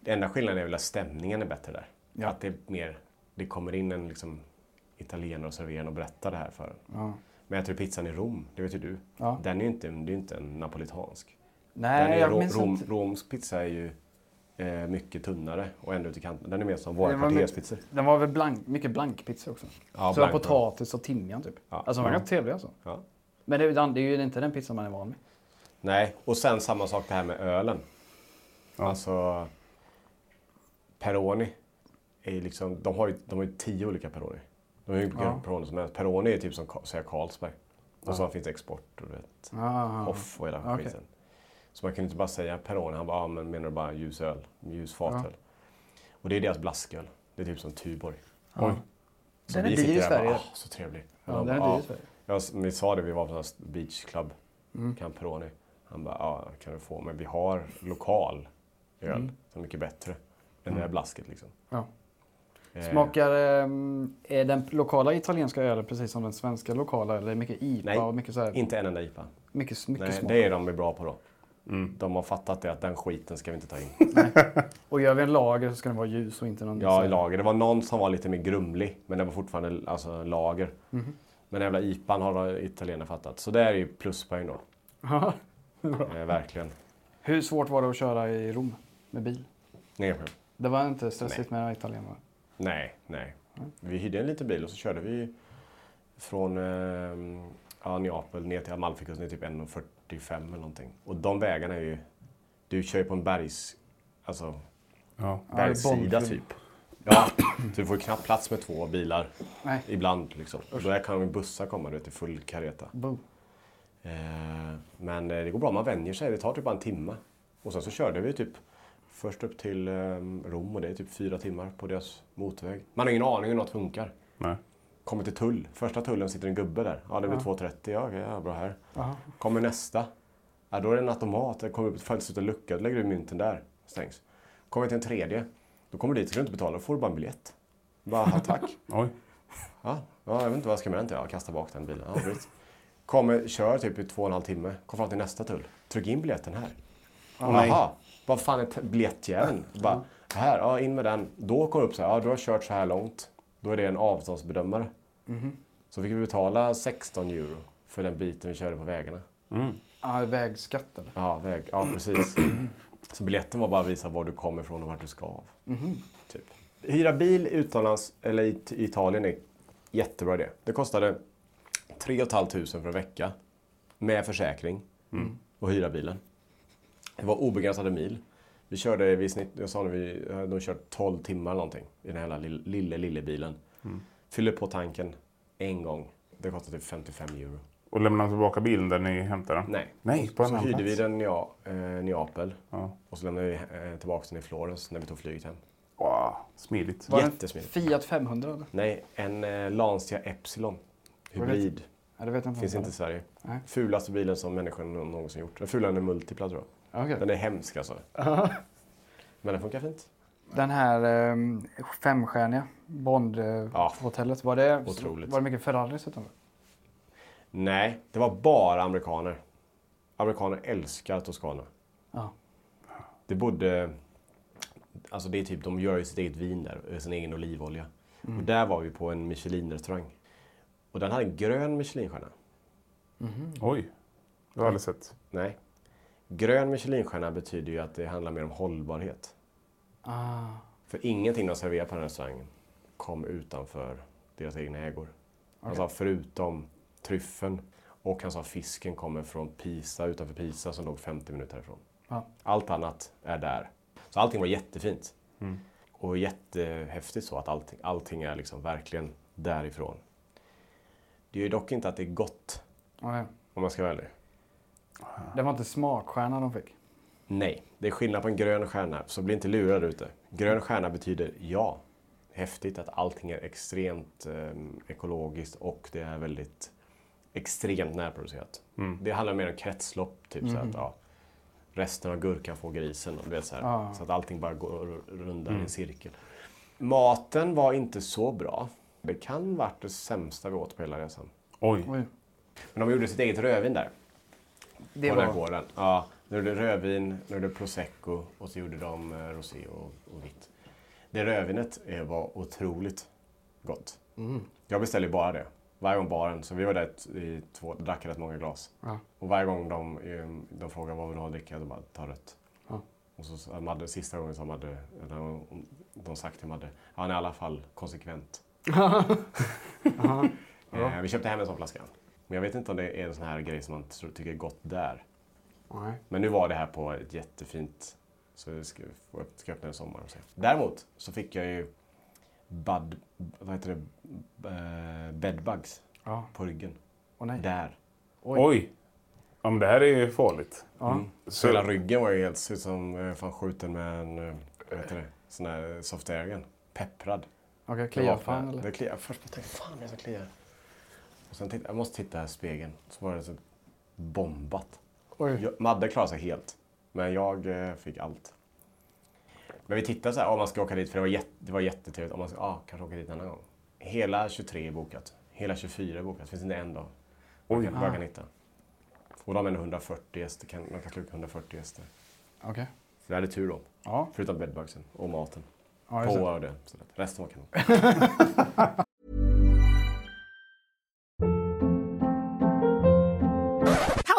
[SPEAKER 2] Det enda skillnaden är väl att stämningen är bättre där. Att det är mer, det kommer in en liksom, italienare och serverar en och berättar det här för en. Men jag tror pizzan i Rom, det vet ju du.
[SPEAKER 3] Ja.
[SPEAKER 2] Den är ju inte, det är ju inte en napolitansk. Den
[SPEAKER 3] Nej,
[SPEAKER 2] är,
[SPEAKER 3] jag
[SPEAKER 2] Ro,
[SPEAKER 3] minns
[SPEAKER 2] Rom,
[SPEAKER 3] inte.
[SPEAKER 2] Roms pizza är ju eh, mycket tunnare och ändå ut i kanten. Den är mer som
[SPEAKER 3] Den var
[SPEAKER 2] våra
[SPEAKER 3] mycket-
[SPEAKER 2] kvarterspizzor.
[SPEAKER 3] Den var väl blank, mycket blankpizza också?
[SPEAKER 2] Ja,
[SPEAKER 3] så det var
[SPEAKER 2] blank,
[SPEAKER 3] potatis och timjan typ.
[SPEAKER 2] Ja.
[SPEAKER 3] Alltså de var ganska trevliga alltså.
[SPEAKER 2] Ja.
[SPEAKER 3] Men det, är ju den- det är ju inte den pizza man är van vid.
[SPEAKER 2] Nej, och sen samma sak det här med ölen. Alltså, Peroni. Är ju liksom, de, har ju, de har ju tio olika Peroni. De har ju hur mycket Peroni som helst. Peroni är typ som Ka- säga Carlsberg. Och så finns det export och du vet,
[SPEAKER 3] Ah.
[SPEAKER 2] off och hela
[SPEAKER 3] Okej.
[SPEAKER 2] skiten. Så man kunde inte bara säga Peroni. Han bara, ah, men menar du bara ljusöl? Ljusfatöl? Och det är deras blasköl. Det är typ som Tuborg.
[SPEAKER 1] Oj.
[SPEAKER 2] Så
[SPEAKER 3] Den är
[SPEAKER 2] vi
[SPEAKER 3] dyr
[SPEAKER 2] sitter
[SPEAKER 3] i
[SPEAKER 2] där och
[SPEAKER 3] Sverige.
[SPEAKER 2] Bara, ah, så trevlig.
[SPEAKER 3] Ja,
[SPEAKER 2] Och de
[SPEAKER 3] den är
[SPEAKER 2] bara,
[SPEAKER 3] dyr i
[SPEAKER 2] "Ah."
[SPEAKER 3] Sverige.
[SPEAKER 2] Ja, s- vi sa det, vi var på en sån här beachclub,
[SPEAKER 3] Mm.
[SPEAKER 2] Camperoni. Han bara, ja, kan du få, men vi har lokal öl som är mycket bättre än det där blasket liksom.
[SPEAKER 3] Mm. Ja.
[SPEAKER 2] Eh,
[SPEAKER 3] Smakar ehm, är den lokala italienska ölen precis som den svenska lokala? Eller är det mycket IPA
[SPEAKER 2] Nej,
[SPEAKER 3] och mycket, så här,
[SPEAKER 2] inte en enda IPA.
[SPEAKER 3] mycket, mycket
[SPEAKER 2] Nej,
[SPEAKER 3] smak? Mm.
[SPEAKER 2] det är de är bra på då. De har fattat det att den skiten ska vi inte ta in.
[SPEAKER 3] Och gör vi en lager så ska den vara ljus och inte någon... så
[SPEAKER 2] Ja,
[SPEAKER 3] här-
[SPEAKER 2] i lager. Det var någon som var lite mer grumlig, men den var fortfarande alltså, lager.
[SPEAKER 3] Mm-hmm.
[SPEAKER 2] Men den jävla IPAn har italienarna fattat. Så det är ju pluspoäng då. Eh, verkligen.
[SPEAKER 3] Hur svårt var det att köra i Rom med bil?
[SPEAKER 2] Inga problem.
[SPEAKER 3] Det var inte stressigt med italienare.
[SPEAKER 2] Nej, nej. Vi hyrde en liten bil och så körde vi från eh, ja, Neapel ner till Amalfikusten i typ 1.45 eller någonting. Och de vägarna är ju... Du kör ju på en bergs... Alltså,
[SPEAKER 1] Ja.
[SPEAKER 2] bergssida
[SPEAKER 3] bombfri.
[SPEAKER 2] typ. Ja, så du får ju knappt plats med två bilar
[SPEAKER 3] Nej.
[SPEAKER 2] ibland. Liksom. Och Då kan ju bussar komma du vet, i full kareta.
[SPEAKER 3] Bo.
[SPEAKER 2] Eh, men eh, det går bra, man vänjer sig. Det tar typ bara en timme. Och sen så körde vi typ först upp till eh, Rom och det är typ fyra timmar på deras motorväg. Man har ingen aning om något funkar.
[SPEAKER 1] Nej.
[SPEAKER 2] Kommer till tull. Första tullen sitter en gubbe där. Ja, det blir 2.30. Ja, okej, ja, bra här. Kommer nästa. Ja, då är det en automat. Det kommer upp ett fönster utan lucka. Då lägger du mynten där. Stängs. Kommer till en tredje. Då kommer du dit, så du inte betala. Då får du bara en biljett. Bara, "Ja, tack.
[SPEAKER 1] Oj.
[SPEAKER 2] Ja, ja, jag vet inte vad jag ska med den till. Ja, kasta bak den bilen. Ja, visst. Kommer, kör typ i två och en halv timme. Kom fram till nästa tull. Tryck in biljetten här. Jaha, vad fan är t- biljettjäveln? Bara, här, ja, in med den. Då kom upp så här, ja, du har kört så här långt. Då är det en avståndsbedömare. Så fick vi betala 16 euro för den biten vi körde på vägarna.
[SPEAKER 3] Ah, vägskatt eller?
[SPEAKER 2] Ja, väg, ja precis. Så biljetten var bara att visa var du kommer ifrån och vart du ska. Typ. Hyra bil utomlands, eller i i Italien, är jättebra idé. Det kostade 3 500 för en vecka med försäkring och hyra bilen. Det var obegränsade mil. Vi körde i snitt, jag sa det, vi hade nog kört 12 timmar någonting i den här lilla, lilla, lilla bilen. Fyller på tanken en gång. Det kostade typ 55 euro.
[SPEAKER 1] Och lämnar tillbaka bilen där ni hämtar den?
[SPEAKER 2] Nej.
[SPEAKER 1] Nej,
[SPEAKER 2] Och
[SPEAKER 1] på en
[SPEAKER 2] så
[SPEAKER 1] annan
[SPEAKER 2] hyrde
[SPEAKER 1] plats.
[SPEAKER 2] vi den i ja, eh, Neapel.
[SPEAKER 1] Ja.
[SPEAKER 2] Och så lämnade vi eh, tillbaka den i Florens när vi tog flyget hem.
[SPEAKER 1] Wow, smidigt.
[SPEAKER 3] Var det en
[SPEAKER 2] Jättesmidigt.
[SPEAKER 3] Fiat 500 eller?
[SPEAKER 2] Nej, en eh, Lancia Epsilon. Hybrid.
[SPEAKER 3] Ja, det vet jag inte.
[SPEAKER 2] Finns inte i Sverige.
[SPEAKER 3] Nej.
[SPEAKER 2] Fulaste bilen som människan nå- någonsin gjort. Den är fulare än en Multipla tror jag.
[SPEAKER 3] Okej.
[SPEAKER 2] Den är hemsk alltså. Men den funkar fint.
[SPEAKER 3] Den här um, femstjärniga Bond-hotellet,
[SPEAKER 2] Ja.
[SPEAKER 3] var, det,
[SPEAKER 2] Otroligt.
[SPEAKER 3] var det mycket Ferraris utanför?
[SPEAKER 2] Nej, det var bara amerikaner. Amerikaner älskar Toscana.
[SPEAKER 3] Ja.
[SPEAKER 2] Det bodde... Alltså det är typ, de gör ju sitt eget vin där, eh, sin egen olivolja. Och där var vi på en Michelin-restaurang. Och den hade en grön Michelinstjärna.
[SPEAKER 1] Oj, det har jag aldrig sett.
[SPEAKER 2] Nej. Grön Michelinstjärna betyder ju att det handlar mer om hållbarhet.
[SPEAKER 3] Ah.
[SPEAKER 2] För ingenting de serverar på den här restaurangen kom utanför deras egna ägor. Han sa förutom tryffeln och han sa fisken kommer från Pisa utanför Pisa som låg 50 minuter härifrån.
[SPEAKER 3] Ja.
[SPEAKER 2] Allt annat är där. Så allting var jättefint.
[SPEAKER 3] Mm.
[SPEAKER 2] Och jättehäftigt så att allting, allting är liksom verkligen därifrån. Det är ju dock inte att det är gott
[SPEAKER 3] Ja, nej.
[SPEAKER 2] om man ska vara ärlig.
[SPEAKER 3] Det var inte smakstjärna de fick.
[SPEAKER 2] Nej, det är skillnad på en grön stjärna, så bli inte lurad ute. Grön stjärna betyder ja. Häftigt att allting är extremt eh, ekologiskt och det är väldigt extremt närproducerat. Det handlar mer om kretslopp, typ så att ja, resten av gurkan får grisen. Och, du vet, så, här, så att allting bara går r- rundare i en cirkel. Maten var inte så bra. Det kan varit det sämsta vi åt på hela resan.
[SPEAKER 1] Oj,
[SPEAKER 3] Oj.
[SPEAKER 2] Men de gjorde sitt eget rödvin där
[SPEAKER 3] Det
[SPEAKER 2] på den här
[SPEAKER 3] var...
[SPEAKER 2] gården. Ja, de gjorde rödvin, de gjorde prosecco och så gjorde de eh, rosé och, och vitt. Det rödvinet eh, var otroligt gott.
[SPEAKER 3] Mm.
[SPEAKER 2] Jag beställde ju bara det. Varje gång baren, så vi var där t- i två, drack rätt många glas. Och varje gång de, eh, de frågade vad vill du ha att dricka, de bara ta rött. Och så sa Madde, sista gången sa Madde, eller hon- de sagt till Madde, han är i alla fall konsekvent. Eh, vi köpte hem en sån flaska. Men jag vet inte om det är en sån här grej som man tror- tycker är gott där.
[SPEAKER 3] Nej.
[SPEAKER 2] Men nu var det här på ett jättefint... Så jag ska, jag ska öppna det i sommar och se. Däremot så fick jag ju bud, vad heter det? Eh, bedbugs
[SPEAKER 3] Ja.
[SPEAKER 2] på ryggen.
[SPEAKER 3] Åh, nej.
[SPEAKER 2] Där.
[SPEAKER 1] oj. Ja, men det här är ju farligt.
[SPEAKER 2] Så hela ryggen var ju helt ser ut som eh, fan skjuten med en eh, vad heter det? sån här soft airgun. Pepprad.
[SPEAKER 3] Okej,
[SPEAKER 2] Jag
[SPEAKER 3] kliar
[SPEAKER 2] vaknade.
[SPEAKER 3] fan eller?
[SPEAKER 2] Det kliar. Först jag tänkte fan det är så kliar. Och sen titta, jag måste titta här i spegeln. Så var det så bombat.
[SPEAKER 3] Oj.
[SPEAKER 2] Jag, Madde klarade sig helt. Men jag eh, fick allt. Men vi tittade så här, om man ska åka dit, för det var, jätte, det var jättetrevligt. Om man ska, ah, kanske åka dit en annan gång. Hela 23 är bokat. Hela 24 är bokat. Det finns inte en dag. Vad jag, kan- vad
[SPEAKER 3] Ah.
[SPEAKER 2] jag kan hitta. Och de är ändå 140 gäster. Kan, de kan sluka 140 gäster.
[SPEAKER 3] Okej.
[SPEAKER 2] Så vi hade tur då.
[SPEAKER 3] Ja.
[SPEAKER 2] Förutom bedbugsen och maten.
[SPEAKER 3] Ja, just
[SPEAKER 2] På
[SPEAKER 3] det.
[SPEAKER 2] och det. Så det- Resten var kanon.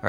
[SPEAKER 6] All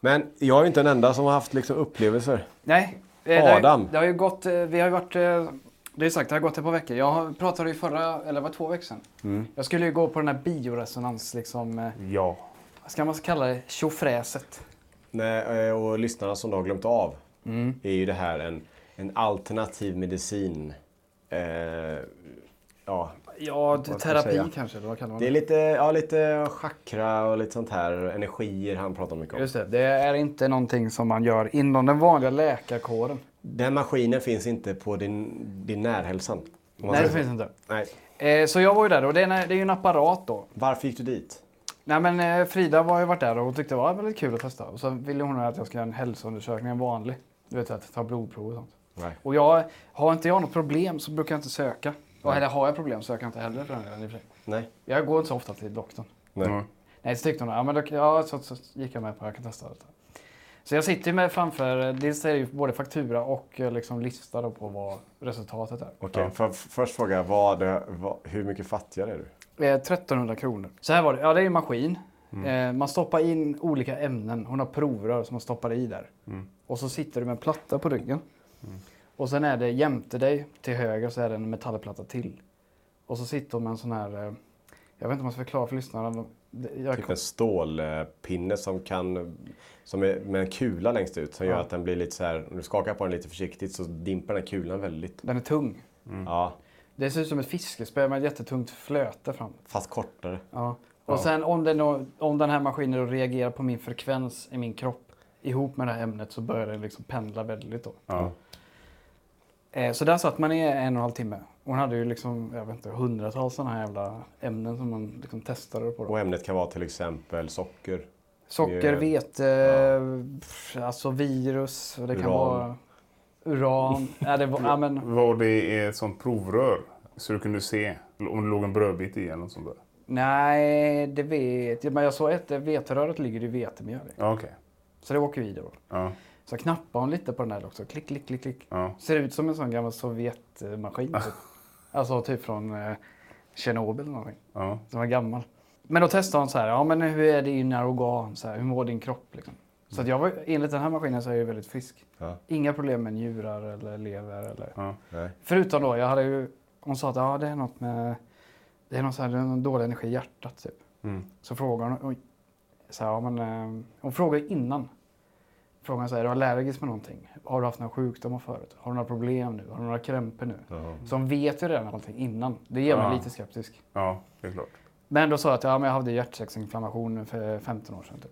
[SPEAKER 2] Men jag är inte den enda som har haft liksom, upplevelser.
[SPEAKER 3] Nej. eh, det har ju-
[SPEAKER 2] Adam.
[SPEAKER 3] Det har ju gått, eh, vi har ju varit, eh, det är sagt, det har gått ett par veckor. Jag har- pratade ju förra, eller var det två veckor sedan.
[SPEAKER 2] Mm.
[SPEAKER 3] Jag skulle ju gå på den här bioresonans, liksom, eh,
[SPEAKER 1] Ja.
[SPEAKER 3] vad ska man kalla det, tjofräset.
[SPEAKER 2] Nej, eh, och lyssnarna som då har glömt av
[SPEAKER 3] Mm.
[SPEAKER 2] är ju det här en, en alternativ medicin. Eh, ja,
[SPEAKER 3] Ja,
[SPEAKER 2] ska jag
[SPEAKER 3] terapi
[SPEAKER 2] säga?
[SPEAKER 3] kanske, eller vad kallar man
[SPEAKER 2] det är lite, ja, lite chakra och lite sånt här. Energier han pratar mycket om.
[SPEAKER 3] Just det, det är inte någonting som man gör inom den vanliga läkarkåren.
[SPEAKER 2] Den maskinen finns inte på din, din närhälsan. om man
[SPEAKER 3] Nej, det
[SPEAKER 2] säger
[SPEAKER 3] finns
[SPEAKER 2] så.
[SPEAKER 3] inte.
[SPEAKER 2] Nej.
[SPEAKER 3] Eh, så jag var ju där och det är, det är ju en apparat då.
[SPEAKER 2] Varför gick du dit?
[SPEAKER 3] Nej men eh, Frida var ju varit där och hon tyckte det var väldigt kul att testa. Och så ville hon att jag skulle göra en hälsoundersökning, en vanlig. Du vet att ta blodprov och sånt.
[SPEAKER 2] Nej.
[SPEAKER 3] Och jag, har inte jag något problem så brukar jag inte söka. Och eller har jag problem söker jag inte heller för den delen i och för sig.
[SPEAKER 2] Nej.
[SPEAKER 3] Jag går inte så ofta till doktorn.
[SPEAKER 2] Nej.
[SPEAKER 3] Nej, så tyckte hon ja, men då, ja, så, så gick jag med på att jag kan testa detta. Så jag sitter ju med framför, eh, dels är det ju både faktura och eh, liksom lista då på vad resultatet är.
[SPEAKER 2] Okej, för, först fråga, vad, det- vad, hur mycket fattigare är du?
[SPEAKER 3] Eh, 1300 kronor. Så här var det, ja det är en maskin. Eh, man stoppar in olika ämnen, hon har provrör som man stoppar i där. Och så sitter du med en platta på ryggen. Mm. Och sen är det jämte dig till höger så är det en metallplatta till. Och så sitter hon med en sån här, eh, jag vet inte om man ska förklara för lyssnarna. Det- Jag,
[SPEAKER 2] Typ en stålpinne som kan, som är med en kula längst ut som gör att den blir lite så här, om du skakar på den lite försiktigt så dimper den här kulan väldigt.
[SPEAKER 3] den är tung.
[SPEAKER 2] Ja,
[SPEAKER 3] Det ser ut som ett fiskespö med ett jättetungt flöte framåt.
[SPEAKER 2] fast kortare.
[SPEAKER 3] Ja. Och sen om den, då, om den här maskinen då reagerar på min frekvens i min kropp ihop med det här ämnet så börjar den liksom pendla väldigt då.
[SPEAKER 1] Ja.
[SPEAKER 3] Eh, så där satt man i en och en halv timme. Hon hade ju liksom, jag vet inte, hundratals sådana här jävla ämnen som man liksom testade på. Då.
[SPEAKER 2] Och eh, ämnet kan vara till exempel socker.
[SPEAKER 3] Socker,
[SPEAKER 2] mjöl.
[SPEAKER 3] vete, pff, alltså virus, och det kan
[SPEAKER 2] Uran.
[SPEAKER 3] vara uran. ja, det var, ja, men,
[SPEAKER 1] Var det är ett sånt provrör så du kunde se om det låg en brödbit i eller något sånt där?
[SPEAKER 3] nej, det vet jag. Men jag såg ett, eh, veteröret ligger i vetemjöl. i.
[SPEAKER 1] Ja, okej.
[SPEAKER 3] Så det åker vi i då.
[SPEAKER 1] Ja,
[SPEAKER 3] Så knappade hon lite på den här också. Klick, klick, klick, klick.
[SPEAKER 1] ja.
[SPEAKER 3] Ser ut som en sån gammal Sovjetmaskin. Typ. alltså typ från eh, Tjernobyl eller någonting.
[SPEAKER 1] ja.
[SPEAKER 3] Den var gammal. Men då testade hon så här, ja men hur är dina organ? Så här, hur mår din kropp? Liksom. Så att jag var, enligt den här maskinen så är jag ju väldigt frisk.
[SPEAKER 2] Ja.
[SPEAKER 3] Inga problem med njurar eller lever. Eller...
[SPEAKER 1] Ja.
[SPEAKER 2] Nej.
[SPEAKER 3] Förutom då, jag hade ju, hon sa att ja, det är något med, det är någon, så här, det är någon dålig energi i hjärtat. Typ.
[SPEAKER 1] Mm.
[SPEAKER 3] Så frågade hon, oj, så här, ja, men, eh, hon frågade innan. Frågan så här, är du allergisk med någonting? Har du haft några sjukdomar förut? Har du några problem nu? Har du några krämpor nu? Så hon vet ju redan allting innan. Det gör mig
[SPEAKER 1] Ja.
[SPEAKER 3] lite skeptisk.
[SPEAKER 1] ja det är klart.
[SPEAKER 3] Men då sa jag att ja, men jag hade hjärtsäcksinflammation för 15 år sedan. Typ.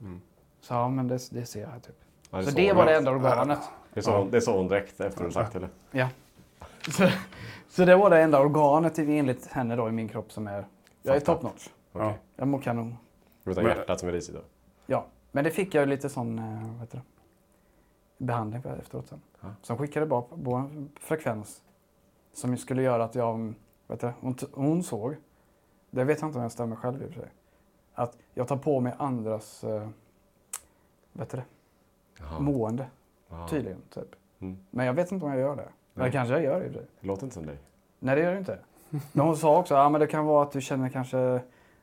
[SPEAKER 3] Så ja, men det, det ser jag. Typ.
[SPEAKER 2] Mm. Ja,
[SPEAKER 3] så
[SPEAKER 2] sa
[SPEAKER 3] det
[SPEAKER 2] hon.
[SPEAKER 3] var det enda organet.
[SPEAKER 2] Det sa hon, det sa hon direkt efter du sagt eller?
[SPEAKER 3] Ja. Så, så det var det enda organet enligt henne då i min kropp som är... Jag är
[SPEAKER 2] Fattar.
[SPEAKER 3] top notch.
[SPEAKER 2] Okej.
[SPEAKER 3] Jag mår kanon.
[SPEAKER 2] Utan
[SPEAKER 1] Men-
[SPEAKER 2] hjärtat som är risigt då?
[SPEAKER 3] Ja, men det fick jag ju lite sån eh, vad heter det, behandling för efteråt sen. Som skickade bara på- på en frekvens som skulle göra att jag, mm, vet du, hon, t- hon såg, det vet jag inte om jag stämmer själv i och för sig, att jag tar på mig andras eh, vet du det, mående tydligen. Typ. Men jag vet inte om jag gör det. Eller kanske jag gör det i och för sig.
[SPEAKER 2] Det låter inte som dig.
[SPEAKER 3] Nej, det gör det inte. Men hon sa också att men det kan vara att du känner kanske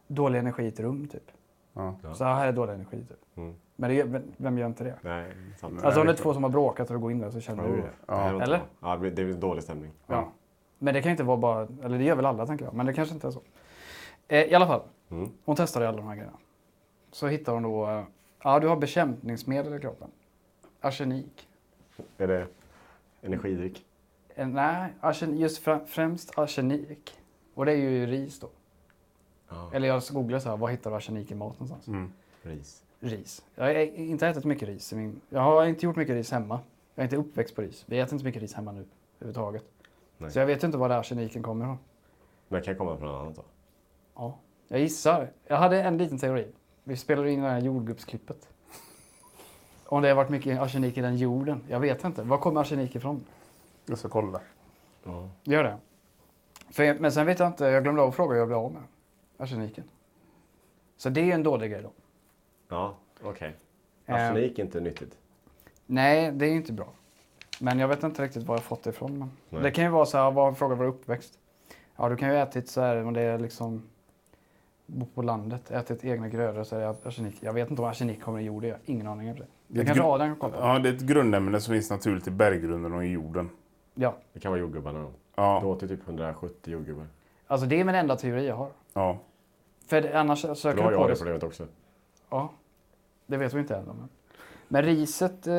[SPEAKER 3] dålig energi i ett rum. Typ.
[SPEAKER 1] Ja.
[SPEAKER 3] Så här är dålig energi. Typ. Men det, vem- vem gör inte det?
[SPEAKER 2] Nej, sant.
[SPEAKER 3] Alltså om det är två som har bråkat och går in där så känner du det.
[SPEAKER 2] Det här var inte
[SPEAKER 3] Eller?
[SPEAKER 2] bra. Ja, det blir- det blir dålig stämning.
[SPEAKER 3] Ja. Men det kan inte vara bara, eller det gör väl alla tänker jag, men det kanske inte är så. Eh, I alla fall, hon testade alla de här grejerna. Så hittar hon då, eh, ja du har bekämpningsmedel i kroppen. Arsenik.
[SPEAKER 2] Är det energidryck?
[SPEAKER 3] Eh, nej, arsen, just fra- främst arsenik. Och det är ju ris då. Eller jag googlade så här, vad hittar du arsenik i mat någonstans?
[SPEAKER 2] Ris.
[SPEAKER 3] Ris. Jag har inte ätit mycket ris. i Min... Jag har inte gjort mycket ris hemma. Jag är inte uppväxt på ris. Vi äter inte mycket ris hemma nu överhuvudtaget.
[SPEAKER 2] Nej.
[SPEAKER 3] Så jag vet inte var det arseniken kommer ifrån.
[SPEAKER 2] Men kan komma från något annat då?
[SPEAKER 3] Ja. Jag gissar. Jag hade en liten teori. Vi spelade in det här jordgubbsklippet. Om det har varit mycket arsenik i den jorden. Jag vet inte. Var kommer arsenik ifrån?
[SPEAKER 1] Jag ska kolla.
[SPEAKER 3] Gör det. För, men sen vet jag inte. Jag glömde av att fråga hur jag blev av med arseniken. Så det är ju en dålig grej då.
[SPEAKER 2] Ja, okej.
[SPEAKER 3] Ehm.
[SPEAKER 2] Arsenik är inte nyttigt.
[SPEAKER 3] Nej, det är ju inte bra. Men jag vet inte riktigt var jag fått det ifrån. Men det kan ju vara så här, vad frågar var uppväxt? Ja, du kan ju ha ätit så här, om det är liksom bott på landet, ätit egna grödor så är det arsenik. Jag vet inte om arsenik kommer i jorden, jag har ingen aning om det. Det
[SPEAKER 1] ett
[SPEAKER 3] kanske
[SPEAKER 1] gru-
[SPEAKER 3] Adam kan kolla.
[SPEAKER 1] Ja, det är ett grundämne som finns naturligt i berggrunden och i jorden.
[SPEAKER 3] Ja,
[SPEAKER 2] Det kan vara jordgubbarna då.
[SPEAKER 1] Ja.
[SPEAKER 2] Du åt ju typ 170 jordgubbar.
[SPEAKER 3] alltså det är min enda teori jag har.
[SPEAKER 1] Ja.
[SPEAKER 3] För det- annars
[SPEAKER 2] Då
[SPEAKER 3] söker
[SPEAKER 2] har
[SPEAKER 3] du på
[SPEAKER 2] jag det
[SPEAKER 3] det.
[SPEAKER 2] problemet också.
[SPEAKER 3] Ja, det vet vi inte än. Men, Men riset, eh,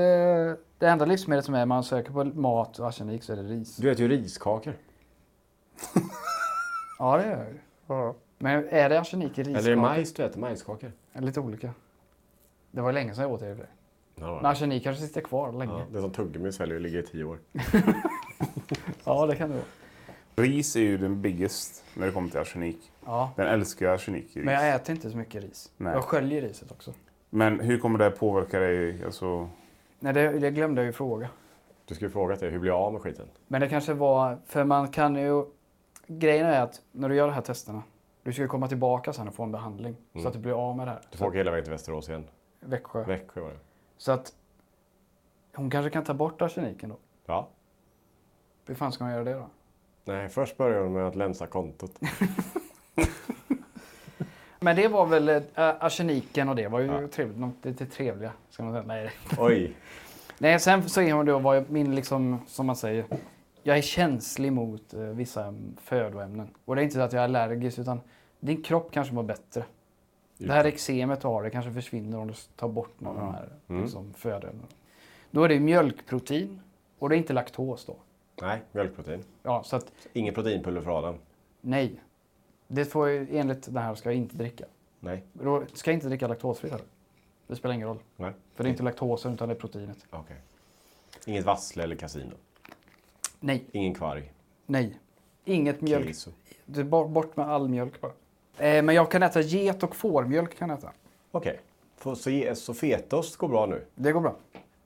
[SPEAKER 3] det enda livsmedlet som är man söker på mat och arsenik så är det ris.
[SPEAKER 2] Du äter ju riskakor.
[SPEAKER 3] Ja, det är det. Men är det arsenik i riskakor?
[SPEAKER 2] Eller är det majs du äter? Majskakor?
[SPEAKER 3] Lite olika. Det var länge sedan jag åt det. i och för sig.
[SPEAKER 2] Ja,
[SPEAKER 3] Men arsenik kanske sitter kvar länge.
[SPEAKER 2] ja,
[SPEAKER 3] Ja,
[SPEAKER 2] det som tuggummi säljer och ligger i tio år.
[SPEAKER 3] det kan det vara.
[SPEAKER 1] Ris är ju den biggest när det kommer till arsenik.
[SPEAKER 3] Ja.
[SPEAKER 1] Den älskar arsenik i ris.
[SPEAKER 3] Men
[SPEAKER 1] Men,
[SPEAKER 3] jag äter inte så mycket ris.
[SPEAKER 1] Nej.
[SPEAKER 3] Jag sköljer riset också.
[SPEAKER 1] hur kommer det här påverka dig? Alltså,
[SPEAKER 3] Nej, det, det glömde jag ju fråga.
[SPEAKER 2] Du skulle fråga dig, hur blir jag av med skiten?
[SPEAKER 3] Men det kanske var, för man kan ju... Grejen är att när du gör de här testerna, du ska ju komma tillbaka sen och få en behandling. Så att du blir av med det här.
[SPEAKER 2] Mm. Du får åka hela vägen till Västerås igen.
[SPEAKER 3] Växjö.
[SPEAKER 2] Växjö var det.
[SPEAKER 3] Så att hon kanske kan ta bort arseniken då.
[SPEAKER 2] Ja.
[SPEAKER 3] Hur fan ska man göra det då?
[SPEAKER 2] Nej, först börjar de med att länsa kontot.
[SPEAKER 3] Men det var väl äh, arseniken och det var ju trevligt. Något lite trevliga, ska man säga. Nej.
[SPEAKER 2] Oj.
[SPEAKER 3] Nej, sen så är hon då vad jag- min, liksom, som man säger, jag är känslig mot eh, vissa mm, födoämnen. Och det är inte så att jag är allergisk, utan din kropp kanske mår bättre. Det här eksemet du har, det kanske försvinner om du s- tar bort någon av de här liksom, födoämnena. Då är det ju mjölkprotein och det är inte laktos då.
[SPEAKER 2] Nej, mjölkprotein.
[SPEAKER 3] Ja, så att
[SPEAKER 2] Ingen proteinpulver för Adam.
[SPEAKER 3] nej. Det får jag, enligt det här ska jag inte dricka.
[SPEAKER 2] Nej.
[SPEAKER 3] Då ska jag inte dricka laktosfritt heller. Det spelar ingen roll.
[SPEAKER 2] Nej.
[SPEAKER 3] För det är inte laktosen utan det är proteinet.
[SPEAKER 2] Okej. Inget vassle eller kasino.
[SPEAKER 3] Nej,
[SPEAKER 2] Ingen kvarg.
[SPEAKER 3] nej. Inget mjölk.
[SPEAKER 2] Queso.
[SPEAKER 3] Det är bort, bort med all mjölk bara. Eh, men jag kan äta get och fårmjölk kan jag äta.
[SPEAKER 2] Okej. Får- Så, ge- så fetaost går bra nu.
[SPEAKER 3] Det går bra.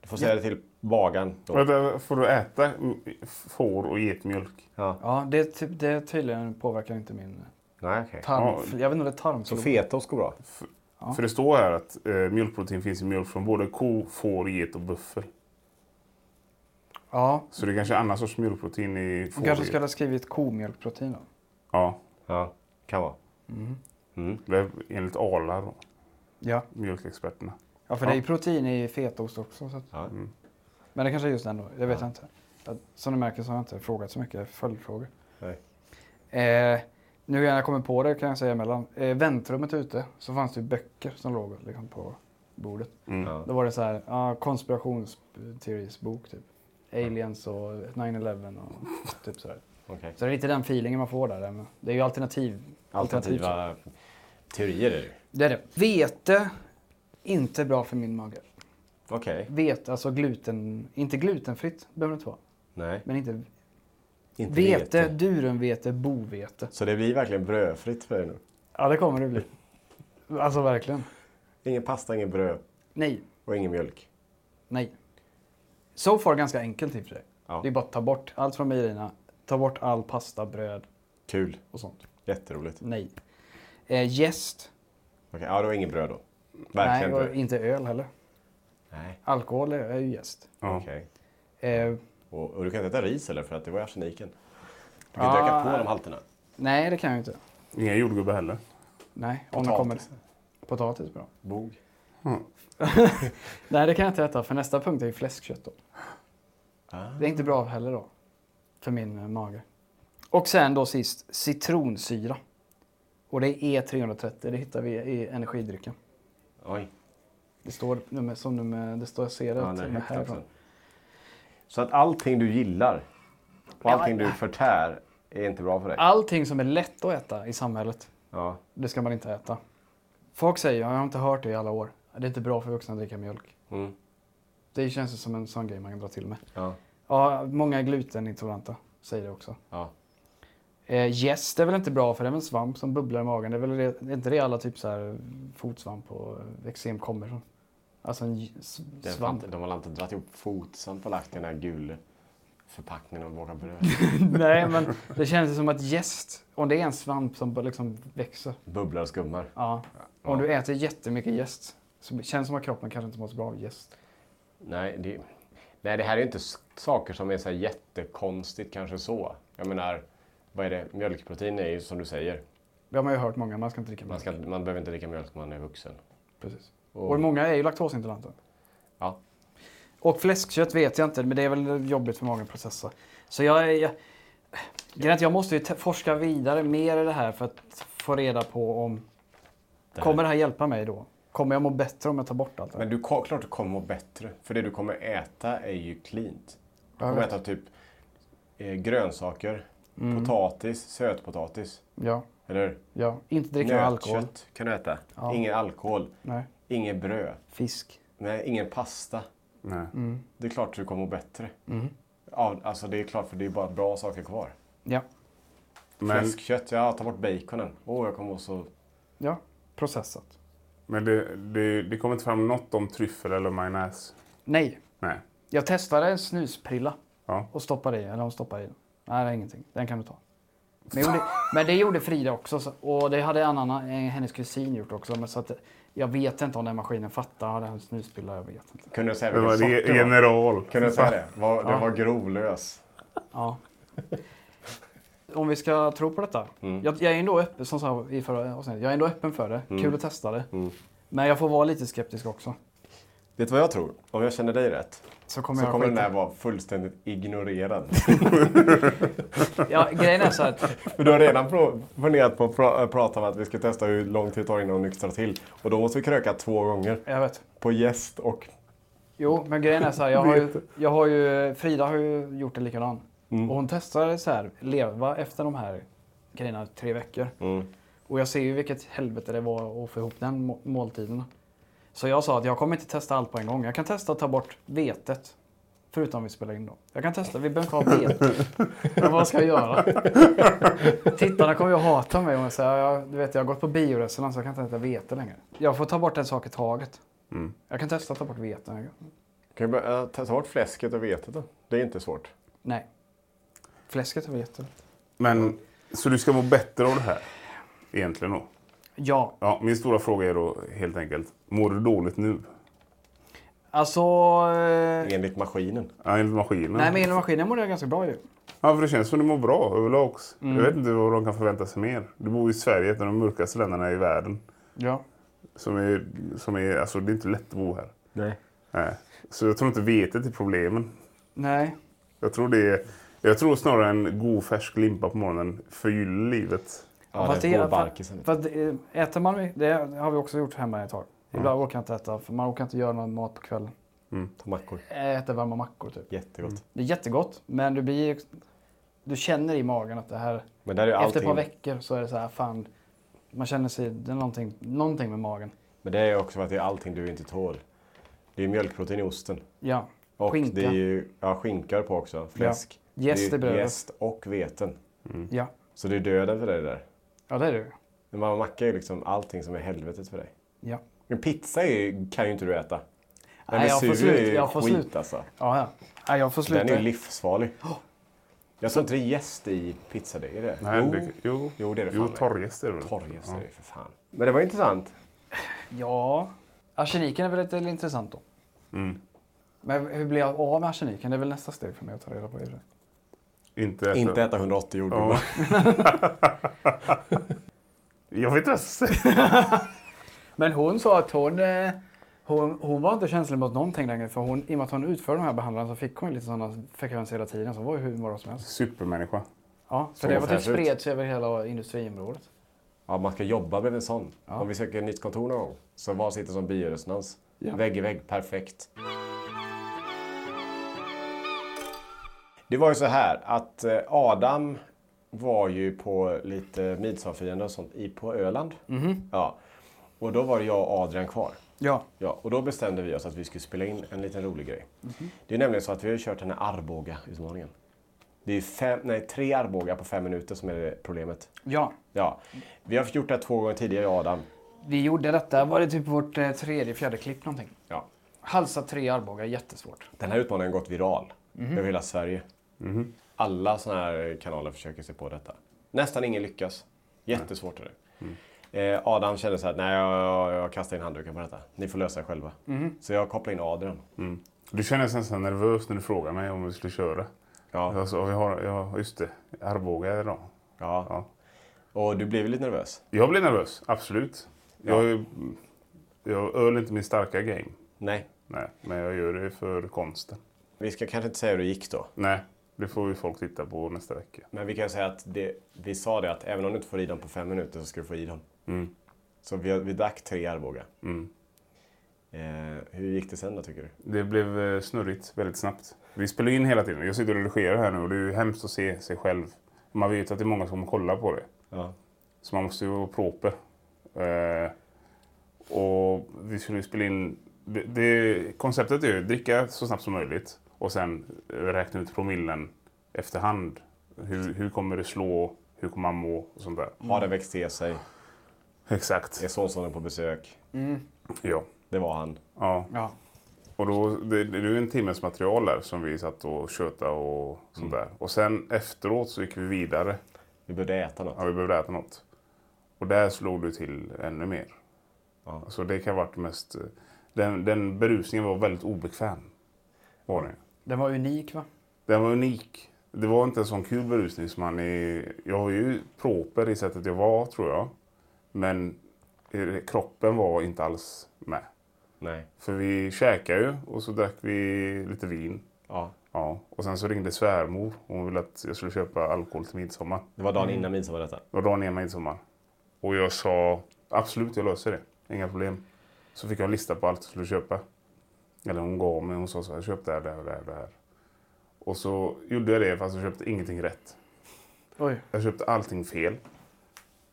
[SPEAKER 2] Du får säga det till bagaren. Då.
[SPEAKER 1] vänta, får du äta mm, får och getmjölk?
[SPEAKER 3] Ja, det, ty- det tydligen påverkar inte min
[SPEAKER 2] Nej, okej.
[SPEAKER 3] tarm. Jag vet inte om det är
[SPEAKER 2] Så
[SPEAKER 3] tarmflora.
[SPEAKER 2] fetaost går bra.
[SPEAKER 1] För det står här att eh, mjölkprotein finns i mjölk från både ko, får, get och buffel.
[SPEAKER 3] Ja,
[SPEAKER 1] Så det är kanske är annan sorts mjölkprotein i får.
[SPEAKER 3] jag kanske skulle ha skrivit komjölkprotein då.
[SPEAKER 1] Ja,
[SPEAKER 2] Ja, kan vara.
[SPEAKER 1] det är enligt Arla då,
[SPEAKER 3] Ja,
[SPEAKER 1] mjölkexperterna.
[SPEAKER 3] ja för det är ju protein i fetaost också. Så att...
[SPEAKER 2] Ja.
[SPEAKER 3] Men det kanske är just den då. Jag vet inte. Jag- Som ni märker så har jag inte frågat så mycket följdfrågor.
[SPEAKER 2] Nej.
[SPEAKER 3] Eh, nu när jag kommer på det kan jag säga emellan. Eh, väntrummet ute så fanns det ju böcker som låg liksom, på bordet.
[SPEAKER 2] Ja.
[SPEAKER 3] Då var det så här, ja, konspirationsteorisbok typ. Aliens och 9-11 och typ sådär.
[SPEAKER 2] Okej.
[SPEAKER 3] Så det är lite den feelingen man får där. Men det är ju alternativ. alternativ.
[SPEAKER 2] Alternativa teorier är det ju.
[SPEAKER 3] Det är det. Vete, inte bra för min mage.
[SPEAKER 2] Okej.
[SPEAKER 3] Vete, alltså gluten, inte glutenfritt behöver det inte vara.
[SPEAKER 2] Nej.
[SPEAKER 3] Men inte
[SPEAKER 2] Inte
[SPEAKER 3] Vete, durumvete, bovete.
[SPEAKER 2] Så det blir verkligen brödfritt för dig nu?
[SPEAKER 3] Ja, det kommer det bli. Alltså verkligen.
[SPEAKER 2] Ingen pasta, ingen bröd
[SPEAKER 3] Nej,
[SPEAKER 2] och ingen mjölk.
[SPEAKER 3] nej. So far ganska enkelt i och för sig.
[SPEAKER 2] Ja.
[SPEAKER 3] Det är bara att ta bort allt från mejerierna. Ta bort all pasta, bröd
[SPEAKER 2] Kul.
[SPEAKER 3] och sånt.
[SPEAKER 2] Jätteroligt.
[SPEAKER 3] Nej. Eh, Jäst.
[SPEAKER 2] Okej, Ja, det var ingen bröd då.
[SPEAKER 3] nej,
[SPEAKER 2] Verkligen
[SPEAKER 3] och
[SPEAKER 2] bröd.
[SPEAKER 3] inte öl heller.
[SPEAKER 2] Nej.
[SPEAKER 3] Alkohol är- är ju jäst.
[SPEAKER 1] Ja.
[SPEAKER 2] Okej.
[SPEAKER 3] Eh,
[SPEAKER 2] Och, och du kan inte äta ris eller för att det var arseniken. Du kan inte öka på de halterna.
[SPEAKER 3] nej, det kan jag ju inte.
[SPEAKER 1] Inga jordgubbar heller.
[SPEAKER 3] Nej, om det kommer.
[SPEAKER 2] Potatis.
[SPEAKER 3] Potatis bra.
[SPEAKER 2] Bog.
[SPEAKER 3] Nej, det kan jag inte äta för nästa punkt är ju fläskkött då.
[SPEAKER 2] Ah.
[SPEAKER 3] Det är inte bra heller då. För min eh, mage. Och sen då sist, citronsyra. Och det är E330, det hittar vi i energidrycken.
[SPEAKER 2] Oj.
[SPEAKER 3] Det står nummer, som nummer, det står, jag ser det
[SPEAKER 2] Ja,
[SPEAKER 3] till
[SPEAKER 2] den
[SPEAKER 3] och
[SPEAKER 2] är
[SPEAKER 3] med
[SPEAKER 2] högt
[SPEAKER 3] här.
[SPEAKER 2] också.
[SPEAKER 3] då.
[SPEAKER 2] Så att allting du gillar och allting du förtär är inte bra för dig?
[SPEAKER 3] Allting som är lätt att äta i samhället,
[SPEAKER 2] Ja.
[SPEAKER 3] det ska man inte äta. Folk säger, jag har inte hört det i alla år, det är inte bra för vuxna att dricka mjölk.
[SPEAKER 2] Mm.
[SPEAKER 3] Det känns ju som en sån grej man kan dra till med.
[SPEAKER 2] Ja.
[SPEAKER 3] Ja, många är glutenintoleranta, säger det också.
[SPEAKER 2] ja.
[SPEAKER 3] Eh, yes, det är väl inte bra för det är väl en svamp som bubblar i magen. Det är väl det, är inte det alla typ så här fotsvamp och eksem kommer från? Alltså en j- s-
[SPEAKER 2] Det är
[SPEAKER 3] svamp.
[SPEAKER 2] fan- De har väl inte dragit ihop Fotsvamp och lagt i den här gula förpackningen och bakat bröd.
[SPEAKER 3] Nej, men det känns ju som att jäst, om det är en svamp som bara liksom växer.
[SPEAKER 2] Bubblar och skummar.
[SPEAKER 3] Ja. Om du äter jättemycket jäst så känns det som att kroppen kanske inte mår så bra av jäst.
[SPEAKER 2] Nej, det, nej, det här är ju inte s- saker som är så här jättekonstigt kanske så. Jag menar, vad är det? Mjölkprotein är ju som du säger.
[SPEAKER 3] Det har man ju hört många, man ska inte dricka
[SPEAKER 2] Man,
[SPEAKER 3] mjölk.
[SPEAKER 2] ska, man behöver inte dricka mjölk när man är vuxen.
[SPEAKER 3] Precis.
[SPEAKER 2] Och-
[SPEAKER 3] Och många är ju laktosintoleranta.
[SPEAKER 2] Ja.
[SPEAKER 3] Och fläskkött vet jag inte, men det är väl jobbigt för magen att processa. Så jag... är- jag grejen är att jag måste ju te- forska vidare mer i det här för att få reda på om... Kommer det här hjälpa mig då? Kommer jag må bättre om jag tar bort allt det här?
[SPEAKER 2] Men du, ko- klart du kommer må bättre. För det du kommer äta är ju cleant. Du kommer äta typ eh, grönsaker, potatis, sötpotatis.
[SPEAKER 3] Ja,
[SPEAKER 2] Eller hur?
[SPEAKER 3] ja. Inte dricka alkohol.
[SPEAKER 2] Nötkött kan du äta. Ingen alkohol,
[SPEAKER 3] Nej.
[SPEAKER 2] ingen bröd,
[SPEAKER 3] Fisk.
[SPEAKER 2] nej, ingen pasta.
[SPEAKER 1] Nej.
[SPEAKER 2] Det är klart du kommer må bättre. Ja, alltså det är klart, för det är bara bra saker kvar.
[SPEAKER 3] Ja.
[SPEAKER 1] Men,
[SPEAKER 2] Fläskkött, ja, ta bort baconen. Åh, jag kommer må så...
[SPEAKER 3] Ja. Processat.
[SPEAKER 1] men det, det, det kommer inte fram något om tryffel eller majonnäs.
[SPEAKER 3] Nej.
[SPEAKER 1] Nej.
[SPEAKER 3] Jag testade en snusprilla.
[SPEAKER 1] Ja.
[SPEAKER 3] Och stoppade i. Eller hon stoppade i den. Nej, det är ingenting. Den kan du ta. Men, jag gjorde, men det gjorde Frida också. så- Och det hade en annan, eh, hennes kusin gjort också. Men så att, jag vet inte om den maskinen fattar. Har den snusprilla? Jag vet inte.
[SPEAKER 2] Kunde du säga
[SPEAKER 1] Det
[SPEAKER 2] vilken
[SPEAKER 1] var
[SPEAKER 2] sort
[SPEAKER 1] re-
[SPEAKER 2] det var?
[SPEAKER 1] general.
[SPEAKER 2] Kunde du säga det? Var, det var grovlös.
[SPEAKER 3] Ja. Om vi ska tro på detta.
[SPEAKER 2] Mm.
[SPEAKER 3] Jag, jag är ändå öppen, som sa i förra avsnittet, jag är ändå öppen för det. Kul att testa det.
[SPEAKER 2] Mm.
[SPEAKER 3] Men jag får vara lite skeptisk också.
[SPEAKER 2] Vet du vad jag tror? Om jag känner dig rätt
[SPEAKER 3] Så kommer
[SPEAKER 2] så
[SPEAKER 3] jag
[SPEAKER 2] kommer den
[SPEAKER 3] skita.
[SPEAKER 2] där vara fullständigt ignorerad.
[SPEAKER 3] Ja, grejen är så här,
[SPEAKER 2] För du har redan pro- funderat på att pra- prata om att vi ska testa hur lång tid det tar innan hon nyktrar till. Och då måste vi kröka två gånger.
[SPEAKER 3] jag vet.
[SPEAKER 2] På gäst och...
[SPEAKER 3] Jo, men grejen är så här, jag har ju, jag har ju, Frida har ju gjort det likadan. Och hon testade så här, leva efter de här grejerna i tre veckor. Och jag ser ju vilket helvete det var att få ihop den må- måltiden. Så jag sa att jag kommer inte testa allt på en gång. Jag kan testa att ta bort vetet. Förutom vi spelar in då. Jag kan testa, vi behöver inte ha vetet. Men vad ska jag göra? Tittarna kommer ju hata mig om jag säger jag, du vet, jag har gått på biorestaurang så jag kan inte äta vete längre. Jag får ta bort en sak i taget. Jag kan testa att ta bort veten.
[SPEAKER 2] Kan vi börja, äh, ta ta bort fläsket och vetet då? Det är inte svårt.
[SPEAKER 3] Nej. Fläsket har vete.
[SPEAKER 1] Men, så du ska må bättre av det här? Egentligen då?
[SPEAKER 3] Ja,
[SPEAKER 1] Ja, min stora fråga är då helt enkelt, mår du dåligt nu?
[SPEAKER 3] alltså... eh,
[SPEAKER 2] Enligt maskinen.
[SPEAKER 1] Ja, enligt maskinen.
[SPEAKER 3] Nej, men elmaskinen mår jag ganska bra ju.
[SPEAKER 1] Ja, för det känns som du mår bra överlag också.
[SPEAKER 3] Mm.
[SPEAKER 1] Jag vet inte vad de kan förvänta sig mer. Du bor i Sverige, ett av de mörkaste länderna i världen.
[SPEAKER 3] Ja.
[SPEAKER 1] Som är, som är, alltså det är inte lätt att bo här.
[SPEAKER 2] Nej.
[SPEAKER 1] Nej. Så jag tror inte vetet är problemen.
[SPEAKER 3] Nej.
[SPEAKER 1] Jag tror, det är, jag tror snarare en god färsk limpa på morgonen förgyller livet.
[SPEAKER 2] Ja,
[SPEAKER 3] Fast
[SPEAKER 2] det är
[SPEAKER 3] fast,
[SPEAKER 2] barkisen.
[SPEAKER 3] fast det- äter man, det har vi också gjort hemma ett tag. Ibland orkar jag inte äta, för man orkar inte göra någon mat på kvällen.
[SPEAKER 2] Ta mackor.
[SPEAKER 3] Jag äter varma mackor typ.
[SPEAKER 2] Jättegott.
[SPEAKER 3] Det är jättegott, men du blir... Du känner i magen att det här...
[SPEAKER 2] Men där är ju
[SPEAKER 3] Efter
[SPEAKER 2] allting...
[SPEAKER 3] ett par veckor så är det så här, fan. Man känner sig, det är någonting, någonting med magen.
[SPEAKER 2] Men det är ju också för att det är allting du inte tål. Det är ju mjölkprotein i osten.
[SPEAKER 3] Ja.
[SPEAKER 2] Och
[SPEAKER 3] Skinka.
[SPEAKER 2] det är ju ja, skinkar på också. Fläsk.
[SPEAKER 3] Ja. Jäst
[SPEAKER 2] Det är ju
[SPEAKER 3] i brödet.
[SPEAKER 2] Jäst och veten.
[SPEAKER 3] Ja.
[SPEAKER 2] Så det är döden för dig där.
[SPEAKER 3] Ja, det är det
[SPEAKER 2] Men man mackar ju liksom allting som är helvetet för dig.
[SPEAKER 3] Ja.
[SPEAKER 2] Men pizza är, ju- kan ju inte du äta.
[SPEAKER 3] Nej,
[SPEAKER 2] Den med
[SPEAKER 3] jag får
[SPEAKER 2] sur
[SPEAKER 3] slut-
[SPEAKER 2] är ju
[SPEAKER 3] jag får
[SPEAKER 2] skit
[SPEAKER 3] slut.
[SPEAKER 2] alltså.
[SPEAKER 3] Ja, ja. Nej, jag får sluta.
[SPEAKER 2] Den är ju livsfarlig. Jag tror inte det är jäst i pizza, det är det?
[SPEAKER 1] Nej,
[SPEAKER 2] jo,
[SPEAKER 1] det- jo.
[SPEAKER 2] jo, det är det
[SPEAKER 1] Jo,
[SPEAKER 2] fan.
[SPEAKER 1] torrjäst är det väl?
[SPEAKER 2] Torrjäst är det för fan. Men det var intressant.
[SPEAKER 3] Ja, arseniken är väl lite intressant då. Men hur blir jag av med arseniken? Det är väl nästa steg för mig att ta reda på. Det.
[SPEAKER 1] Inte äta.
[SPEAKER 2] Inte äta 180 jordgubbar.
[SPEAKER 1] Jag vet inte vad jag ska säga.
[SPEAKER 3] Men hon sa att hon, eh, hon, hon var inte känslig mot någonting längre. För hon, i och med att hon utförde de här behandlingarna så fick hon ju lite sådana frekvenser hela tiden. Så var ju hur morgon som helst.
[SPEAKER 1] Supermänniska.
[SPEAKER 3] Ja, så
[SPEAKER 2] Så
[SPEAKER 3] det var typ
[SPEAKER 2] fräsch ut.
[SPEAKER 3] spreds över hela industriområdet.
[SPEAKER 2] Ja, man ska jobba med en sån. Om vi söker nytt kontor någon gång, så var sitter som bioresonans? Vägg i vägg, perfekt. Det var ju så här att eh, Adam var ju på lite midsommarfirande och sånt i, på Öland. Ja. Och då var det jag och Adrian kvar.
[SPEAKER 3] Ja.
[SPEAKER 2] Ja, och då bestämde vi oss att vi skulle spela in en liten rolig grej. Det är nämligen så att vi har ju kört den här Arboga-utmaningen. Det är ju fem, nej, tre Arboga på fem minuter som är det problemet.
[SPEAKER 3] Ja.
[SPEAKER 2] Ja. Vi har gjort det här två gånger tidigare, jag och Adam.
[SPEAKER 3] Vi gjorde detta, var det typ vårt eh, tredje, fjärde klipp någonting?
[SPEAKER 2] Ja.
[SPEAKER 3] Halsa tre Arboga, jättesvårt.
[SPEAKER 2] Den här utmaningen har gått viral över hela Sverige. Alla sådana här kanaler försöker sig på detta. Nästan ingen lyckas. Jättesvårt är det. Eh, Adam kände så här, nej jag, jag, jag kastar in handduken på detta. Ni får lösa det själva. Så jag kopplade in Adrian.
[SPEAKER 1] Du kändes nästan nervös när du frågade mig om vi skulle köra.
[SPEAKER 2] Ja.
[SPEAKER 1] Jag sa, vi har, ja, just det, Arboga idag.
[SPEAKER 2] Ja.
[SPEAKER 1] Ja.
[SPEAKER 2] Och du blev lite nervös?
[SPEAKER 1] Jag blev nervös, absolut. Jag, jag öl är inte min starka game.
[SPEAKER 2] Nej.
[SPEAKER 1] Nej, men jag gör det för konsten.
[SPEAKER 2] Vi ska kanske inte säga hur det gick då.
[SPEAKER 1] Nej, det får ju folk titta på nästa vecka.
[SPEAKER 2] Men vi kan säga att det, vi sa det att även om du inte får i dem på fem minuter så ska du få i dem. Så vi, har- vi drack tre Arboga. Eh, Hur gick det sen då tycker du?
[SPEAKER 1] Det blev eh, snurrigt väldigt snabbt. Vi spelar in hela tiden. Jag sitter och redigerar här nu och det är ju hemskt att se sig själv. Man vet att det är många som kollar på det.
[SPEAKER 2] Ja.
[SPEAKER 1] Så man måste ju vara proper. Eh, och vi skulle ju spela in... Det, det, konceptet är ju dricka så snabbt som möjligt och sen eh, räkna ut promillen efterhand. Hur, hur kommer det slå? Hur kommer man må? Och sånt där.
[SPEAKER 2] Har det växt till sig?
[SPEAKER 1] Exakt.
[SPEAKER 2] Är sonsonen på besök?
[SPEAKER 1] Ja.
[SPEAKER 2] Det var han.
[SPEAKER 1] ja.
[SPEAKER 3] Ja.
[SPEAKER 1] Och då, det, det är ju en timmes material där som vi satt och tjötade och sånt där. Och sen efteråt så gick vi vidare.
[SPEAKER 2] Vi började äta något.
[SPEAKER 1] Ja, vi behövde äta något. Och där slog du till ännu mer.
[SPEAKER 2] Ja.
[SPEAKER 1] Så det kan ha varit mest... eh, Den, den berusningen var väldigt obekväm. Var den.
[SPEAKER 3] Den var unik va?
[SPEAKER 1] den var unik. Det var inte en sån kul berusning som man är... Jag var ju proper i sättet jag var, tror jag. Men eh, kroppen var inte alls med.
[SPEAKER 2] Nej.
[SPEAKER 1] För vi käkade ju och så drack vi lite vin.
[SPEAKER 2] Ja.
[SPEAKER 1] Ja, och sen så ringde svärmor. Hon ville att jag skulle köpa alkohol till midsommar.
[SPEAKER 2] Det var dagen innan midsommar detta.
[SPEAKER 1] Det var dagen innan midsommar. Och jag sa absolut, jag löser det. Inga problem. Så fick jag en lista på allt jag skulle köpa. Eller hon gav mig, hon sa så här, köp det här, det här, det här, det här. Och så gjorde jag det fast jag köpte ingenting rätt.
[SPEAKER 3] Oj.
[SPEAKER 1] Jag köpte allting fel.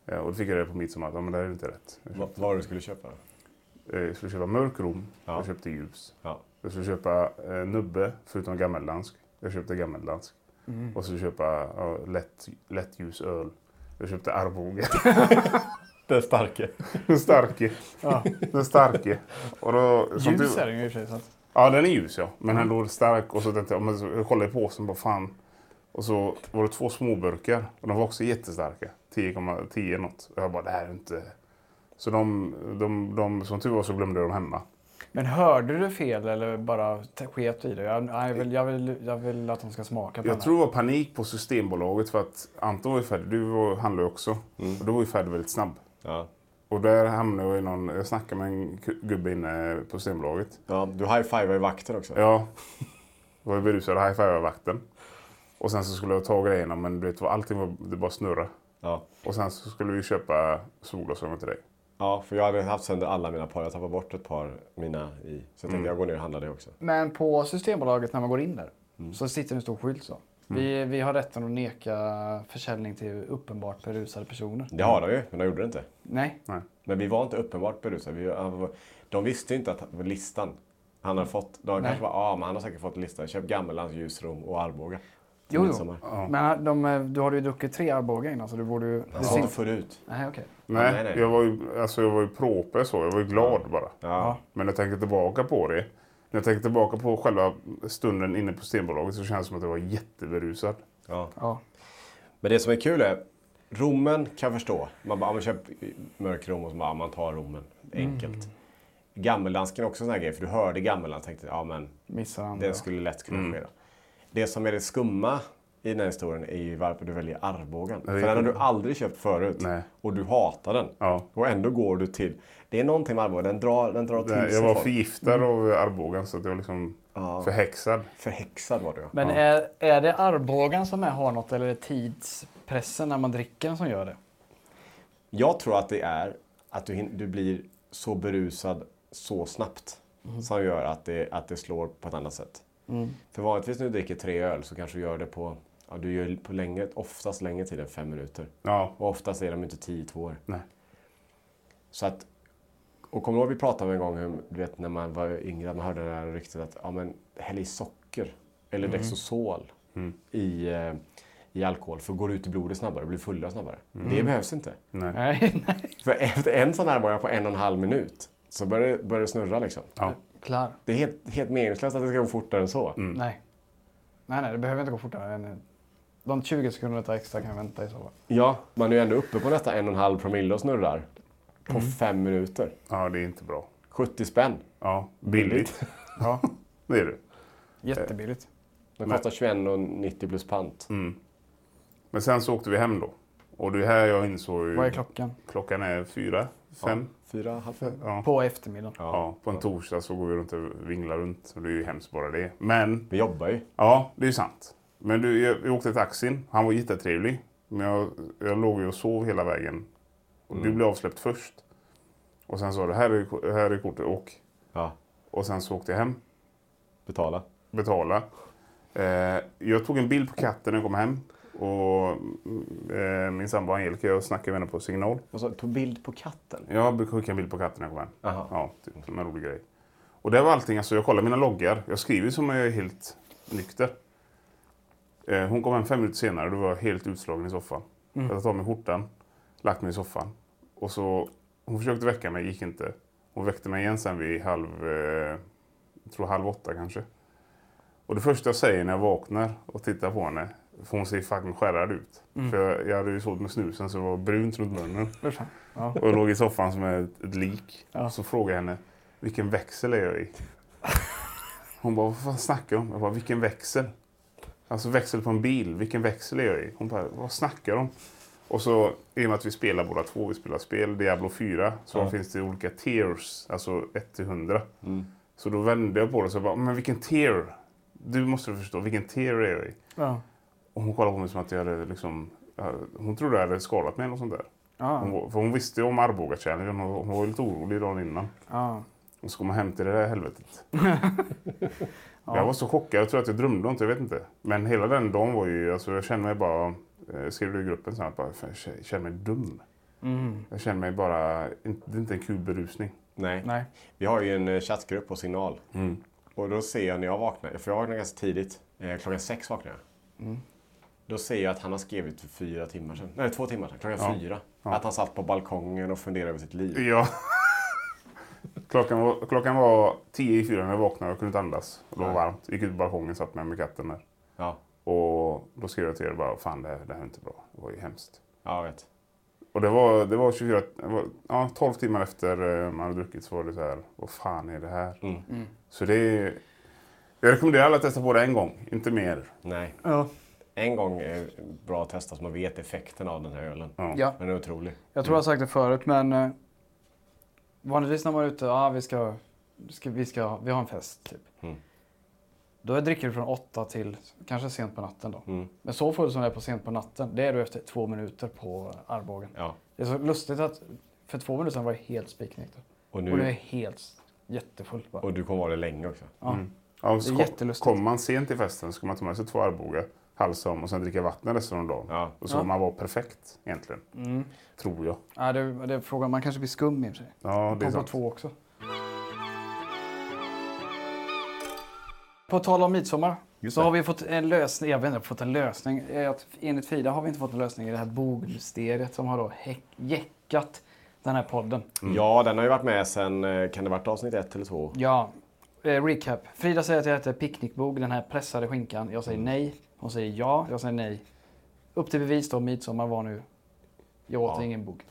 [SPEAKER 1] Eh, Och då fick jag reda på midsommar att ja, men det här är inte rätt. Jag
[SPEAKER 2] Va- Vad var det du skulle köpa?
[SPEAKER 1] köpte- eh, Jag skulle köpa mörk rom,
[SPEAKER 2] Ja.
[SPEAKER 1] jag köpte ljus.
[SPEAKER 2] Ja.
[SPEAKER 1] Jag skulle köpa eh, nubbe, förutom gammeldansk. Jag köpte gammeldansk.
[SPEAKER 3] Mm.
[SPEAKER 1] Och så köpa ja, lätt, lättljus öl. Jag köpte Arboga.
[SPEAKER 2] Den starke.
[SPEAKER 1] Den starke.
[SPEAKER 3] Ja.
[SPEAKER 1] Den starke. Och då, som
[SPEAKER 3] Ljus
[SPEAKER 1] tur-
[SPEAKER 3] är den ju i och för sig. Så att...
[SPEAKER 1] Ja, den är ljus ja. Men ändå stark. Och så tänkte jag, men så- jag kollade i påsen bara fan. Och så var det två småburkar och de var också jättestarka. 10,10 något. Och jag bara, det här är inte... Så de, de, de som tur var så glömde jag dem hemma.
[SPEAKER 3] Men hörde du fel eller bara t- sket i det? Jag, nej, jag, vill, jag, vill, jag vill att de ska smaka på den
[SPEAKER 1] Jag
[SPEAKER 3] här.
[SPEAKER 1] tror det var panik på Systembolaget för att Anton var ju färdig. Du var- handlade ju också. Och då var ju färdig väldigt snabb.
[SPEAKER 2] Ja.
[SPEAKER 1] Och där hamnade jag i någon... Jag snackade med en k- gubbe inne på Systembolaget.
[SPEAKER 2] ja. Du high-fivar ju vakten också.
[SPEAKER 1] Ja. Jag var ju berusad och high-fivade vakten. Och sen så skulle jag ta grejerna men du vet, allting var, det bara snurra.
[SPEAKER 2] Ja.
[SPEAKER 1] Och sen så skulle vi köpa solglasögon till dig.
[SPEAKER 2] Ja, för jag hade haft sönder alla mina par. Jag tappade bort ett par mina i. Så jag tänkte jag går ner och handlar det också.
[SPEAKER 3] Men på Systembolaget när man går in där
[SPEAKER 2] Mm.
[SPEAKER 3] så sitter en stor skylt så. Vi, vi har rätten att neka försäljning till uppenbart berusade personer.
[SPEAKER 2] Det har de ju, men de gjorde det inte. Mm.
[SPEAKER 3] Nej.
[SPEAKER 2] Men vi var inte uppenbart berusade. Vi, var- de visste ju inte att listan han hade fått. De kanske bara, ja men han har säkert fått listan. Köp Gammellands, Ljusrom och Arboga. till
[SPEAKER 3] Jo, jo.
[SPEAKER 2] midsommar."
[SPEAKER 3] Men äh, de, du har ju druckit tre Arboga innan så du borde ju...
[SPEAKER 2] Han sa inte förut.
[SPEAKER 3] Nej, okej.
[SPEAKER 1] Nej,
[SPEAKER 2] nej, nej.
[SPEAKER 1] Jag, var ju, alltså, jag var ju proper så. Jag var ju glad bara.
[SPEAKER 2] Ja.
[SPEAKER 1] Men när jag tänker tillbaka på det. När jag tänker tillbaka på själva stunden inne på Systembolaget så känns det som att jag var jätteberusad.
[SPEAKER 2] ja.
[SPEAKER 3] Ja.
[SPEAKER 2] Men det som är kul är, rommen kan jag förstå. Man bara, ja, men köp mörk rom och så bara, ja, man tar rommen. Enkelt.
[SPEAKER 3] Mm.
[SPEAKER 2] Gammeldansken är också en sån här grej, för du hörde gammeldansk tänkte, ja men
[SPEAKER 3] Missar andra.
[SPEAKER 2] Det skulle lätt kunna
[SPEAKER 1] Mm.
[SPEAKER 2] ske. då. Det som är det skumma i den här historien är ju varför du väljer Arbogan. För den har du aldrig köpt förut
[SPEAKER 1] Nej.
[SPEAKER 2] och du hatar den.
[SPEAKER 1] Ja.
[SPEAKER 2] Och ändå går du till... Det är någonting med Arbogan, den drar, den drar till
[SPEAKER 1] Nej,
[SPEAKER 2] sig
[SPEAKER 1] Jag var
[SPEAKER 2] folk.
[SPEAKER 1] förgiftad av Arbogan så att jag var liksom förhäxad.
[SPEAKER 2] Förhäxad var du. ja.
[SPEAKER 3] Men är, är det Arbogan som är har något eller är det tidspressen när man dricker som gör det?
[SPEAKER 2] Jag tror att det är att du, hin- du blir så berusad så snabbt som gör att det, att det slår på ett annat sätt. För vanligtvis när du dricker tre öl så kanske du gör det på... Ja, du gör på länge, oftast längre tid än fem minuter.
[SPEAKER 1] Ja.
[SPEAKER 2] Och oftast är de inte tio, två år.
[SPEAKER 1] Nej.
[SPEAKER 2] Så att, och kommer du ihåg vi pratade om en gång, hur, du vet när man var yngre, att man hörde det här ryktet att ja, men, häll i socker eller Dexosol i, eh, i alkohol för då går det ut i blodet snabbare, blir fullare snabbare. Det behövs inte.
[SPEAKER 3] Nej, nej.
[SPEAKER 2] För efter en sån här bara på en och en halv minut så börjar det, börjar det snurra liksom.
[SPEAKER 1] Ja.
[SPEAKER 3] Klar.
[SPEAKER 2] Det är helt, helt meningslöst att det ska gå fortare än så.
[SPEAKER 3] Nej. Nej, nej, det behöver inte gå fortare. än- De 20 sekunderna tar extra kan jag vänta i så fall.
[SPEAKER 2] Ja, man är ju ändå uppe på nästan en och en halv promille och snurrar på fem minuter.
[SPEAKER 1] ja, det är inte bra.
[SPEAKER 2] 70 spänn.
[SPEAKER 1] Ja, billigt.
[SPEAKER 3] Ja,
[SPEAKER 1] det är det.
[SPEAKER 3] jättebilligt.
[SPEAKER 2] Det kostar 21,90 plus pant.
[SPEAKER 1] Men sen så åkte vi hem då. Och det är här jag insåg ju...
[SPEAKER 3] Vad är klockan?
[SPEAKER 1] Klockan är fyra, fem.
[SPEAKER 2] Fyra, halv fem.
[SPEAKER 3] På eftermiddagen.
[SPEAKER 1] Ja. på en torsdag så går vi runt och vinglar runt. Och det är ju hemskt bara det. Men,
[SPEAKER 2] Vi jobbar ju.
[SPEAKER 1] ja, det är ju sant. Men du, jag, jag åkte taxin. Han var jättetrevlig. Men jag, jag låg ju och sov hela vägen. Och Du blev avsläppt först. Och sen sa du, här är, ko- här är kortet, åk.
[SPEAKER 2] Ja.
[SPEAKER 1] Och sen så åkte jag hem,
[SPEAKER 2] Betala.
[SPEAKER 1] betala. Eh, jag tog en bild på katten när jag kom hem. Och mm, eh, min sambo Angelica, jag snackade med henne på signal.
[SPEAKER 2] Och så tog bild Alltså, på katten.
[SPEAKER 1] Jag brukar skicka en bild på katten när jag kommer hem.
[SPEAKER 2] Aha.
[SPEAKER 1] Ja, typ, som en rolig grej. Och det var allting. Alltså, jag kollar mina loggar. Jag skriver som om jag är helt nykter. Eh, hon kom hem fem minuter senare och då var jag helt utslagen i soffan. Jag hade tagit mig skjortan, lagt mig i soffan. Och så, hon försökte väcka mig, gick inte. Hon väckte mig igen sen vid halv, eh, jag tror halv åtta kanske. Och det första jag säger när jag vaknar och tittar på henne, för hon ser fucking skärrad ut. För jag, jag hade ju sovit med snusen så det var brunt runt munnen. Och jag låg i soffan som ett, ett lik. Och så frågade jag henne, vilken växel är jag i? Hon bara, vad fan snackar du om? Jag bara, vilken växel? Alltså växel på en bil, vilken växel är jag i? Hon bara, vad snackar du om? Och så, i och med att vi spelar båda två, vi spelar spel, Diablo 4, så finns det olika tiers, alltså 1 till 100. Så då vände jag på det och så bara, men vilken tier? Du måste förstå, vilken tier är jag i?
[SPEAKER 3] Ja.
[SPEAKER 1] Och hon kollade på mig som att jag hade liksom, eh, hon trodde jag hade skadat mig eller något sånt där. Hon, var- för hon visste ju om Arboga-challengen, hon, hon var ju lite orolig dagen innan.
[SPEAKER 3] Ja.
[SPEAKER 1] Och så kom hon hem till det där helvetet. Jag var så chockad, jag tror att jag drömde om det, jag vet inte. Men hela den dagen var ju, alltså jag kände mig bara, eh, skrev du i gruppen sen, att bara, fan, jag känner mig dum.
[SPEAKER 3] Mm.
[SPEAKER 1] Jag känner mig bara, inte- det är inte en kul berusning.
[SPEAKER 2] Nej.
[SPEAKER 3] Nej. Mm.
[SPEAKER 2] Vi har ju en eh, chattgrupp på Signal. Och då ser jag när jag vaknar, för jag vaknar ganska tidigt, eh, klockan sex vaknar jag. Då ser jag att han har skrivit för fyra timmar sedan, nej två timmar sedan, klockan fyra. Att han satt på balkongen och funderade över sitt liv.
[SPEAKER 1] Ja. klockan, var, klockan var tio i fyra när jag vaknade, jag kunde inte andas. Och det var varmt. Gick ut på balkongen, satt med, med katten där.
[SPEAKER 2] Ja,
[SPEAKER 1] Och då skrev jag till er bara, fan det här, det här är inte bra. Det var ju hemskt.
[SPEAKER 2] ja jag vet.
[SPEAKER 1] Och det var, det var 24, det var, ja, 12 timmar efter eh, man hade druckit så var det så här, vad fan är det här? Så det är, jag rekommenderar alla att testa på det en gång, inte mer.
[SPEAKER 2] Nej.
[SPEAKER 3] Ja.
[SPEAKER 2] En gång är bra att testa så man vet effekten av den här ölen.
[SPEAKER 3] ja.
[SPEAKER 2] Den är otrolig.
[SPEAKER 3] Jag tror jag har sagt det förut, men eh, vanligtvis när man är ute, ja ah, vi ska, ska, vi ska, vi har en fest typ.
[SPEAKER 2] Mm.
[SPEAKER 3] Då dricker du från åtta till kanske sent på natten då.
[SPEAKER 2] Mm.
[SPEAKER 3] Men så full som det är på sent på natten, det är du efter två minuter på Arbogen.
[SPEAKER 2] Ja.
[SPEAKER 3] Det är så lustigt att för två minuter sedan var jag helt spiknykter.
[SPEAKER 2] Och nu-
[SPEAKER 3] och nu är jag helt jättefull. Bara.
[SPEAKER 2] Mm. Och Mm. du kommer vara det länge också.
[SPEAKER 3] ja.
[SPEAKER 1] Ja, och
[SPEAKER 3] Det är
[SPEAKER 1] så
[SPEAKER 3] jättelustigt.
[SPEAKER 1] kom man sent till festen så ska man ta med sig två Arboga, halsa om och sen dricka vatten resten av dagen.
[SPEAKER 2] Ja.
[SPEAKER 1] Och så man var perfekt egentligen.
[SPEAKER 3] Mm.
[SPEAKER 1] Tror jag.
[SPEAKER 3] Ja, det, det är frågan, man kanske blir skum i och för sig.
[SPEAKER 1] Ja, det är
[SPEAKER 3] På, på
[SPEAKER 1] sant.
[SPEAKER 3] två också. På tal om midsommar så har vi fått en lösning, jag vet inte, fått en lösning. Eh, att Enligt Frida har vi inte fått en lösning i det här bogsteriet som har då häck- jäckat den här podden.
[SPEAKER 2] Ja, den har ju varit med sen, eh, kan det varit avsnitt ett eller två?
[SPEAKER 3] Ja, eh, recap. Frida säger att jag äter picknickbog, den här pressade skinkan. Jag säger
[SPEAKER 1] Mm.
[SPEAKER 3] nej. Hon säger ja, jag säger nej. Upp till bevis då, midsommar var nu. Jag åt ingen bog.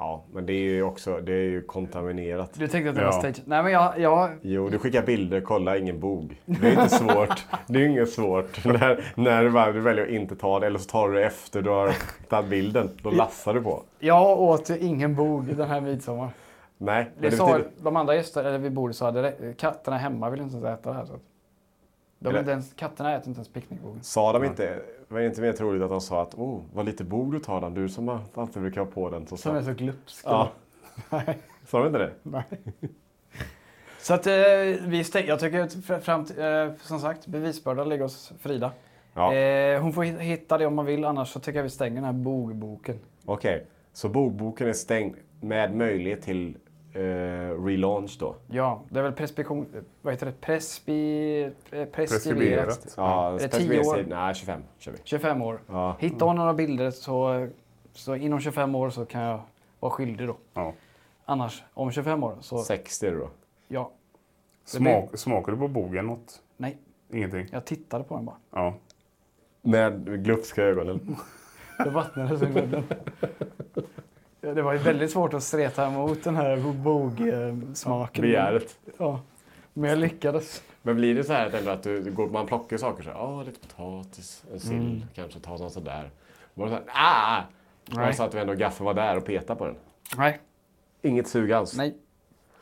[SPEAKER 2] Ja, men det är ju också, det är ju kontaminerat.
[SPEAKER 3] Du tänkte att det
[SPEAKER 1] Ja.
[SPEAKER 3] var stage. Nej men jag, jag,
[SPEAKER 2] Jo, du skickar bilder, kolla ingen bog. Det är inte svårt. Det är inget svårt. När, när du, bara, du väljer att inte ta det, eller så tar du det efter du har tagit bilden. Då lassar du på.
[SPEAKER 3] jag åt ju ingen bog den här midsommar.
[SPEAKER 2] Nej, men
[SPEAKER 3] Det
[SPEAKER 2] det
[SPEAKER 3] sa
[SPEAKER 2] betyder,
[SPEAKER 3] de andra gästerna, eller vid bordet, så hade det, katterna hemma ville inte ens äta det här. Så att de
[SPEAKER 2] Eller-
[SPEAKER 3] inte ens, katterna äter inte ens picknickbogen.
[SPEAKER 2] sa de inte, var det inte mer troligt att de sa att oh, vad lite bog du tar den, du som alltid brukar ha på den. Så
[SPEAKER 3] Som är
[SPEAKER 2] sa,
[SPEAKER 3] så glupsk.
[SPEAKER 2] ja. sa de inte det?
[SPEAKER 3] Så att eh, vi stäng, jag tycker att fr- fram till, eh, som sagt, bevisbördan ligger hos Frida.
[SPEAKER 2] Ja.
[SPEAKER 3] Eh, hon får hi- hitta det om man vill, annars så tycker jag vi stänger den här bogboken.
[SPEAKER 2] Okej, så bogboken är stängd med möjlighet till eh, relaunch då?
[SPEAKER 3] Ja, det är väl preskription, eh, vad heter det, prespi, eh, preskriberat.
[SPEAKER 1] Preskriberat.
[SPEAKER 2] Ja,
[SPEAKER 3] Är det
[SPEAKER 2] specificeringstid-
[SPEAKER 3] 10 år?
[SPEAKER 2] Nej, 25 kör vi.
[SPEAKER 3] 25 år. Hittar hon några bilder så, så inom 25 år så kan jag vara skyldig då.
[SPEAKER 1] Ja.
[SPEAKER 3] Annars, om 25 år så,
[SPEAKER 2] 60 är det då.
[SPEAKER 3] ja,
[SPEAKER 1] Smak, smakade du på bogen något?
[SPEAKER 3] nej.
[SPEAKER 1] Ingenting?
[SPEAKER 3] Jag tittade på den bara.
[SPEAKER 1] Ja.
[SPEAKER 2] Med glupska ögonen.
[SPEAKER 3] Det vattnades ur munnen. Ja, Det var ju väldigt svårt att streta emot den här bogsmaken.
[SPEAKER 2] Begäret.
[SPEAKER 3] Ja. Men jag lyckades.
[SPEAKER 2] Men blir det så här att, ändå att du, du går, man plockar saker så här, ah, lite potatis, en sill, kanske ta någon sån där. Var det så här, ah! Var det så att du ändå gaffeln var där och petade på den?
[SPEAKER 3] Nej.
[SPEAKER 2] Inget sug alls?
[SPEAKER 3] Nej.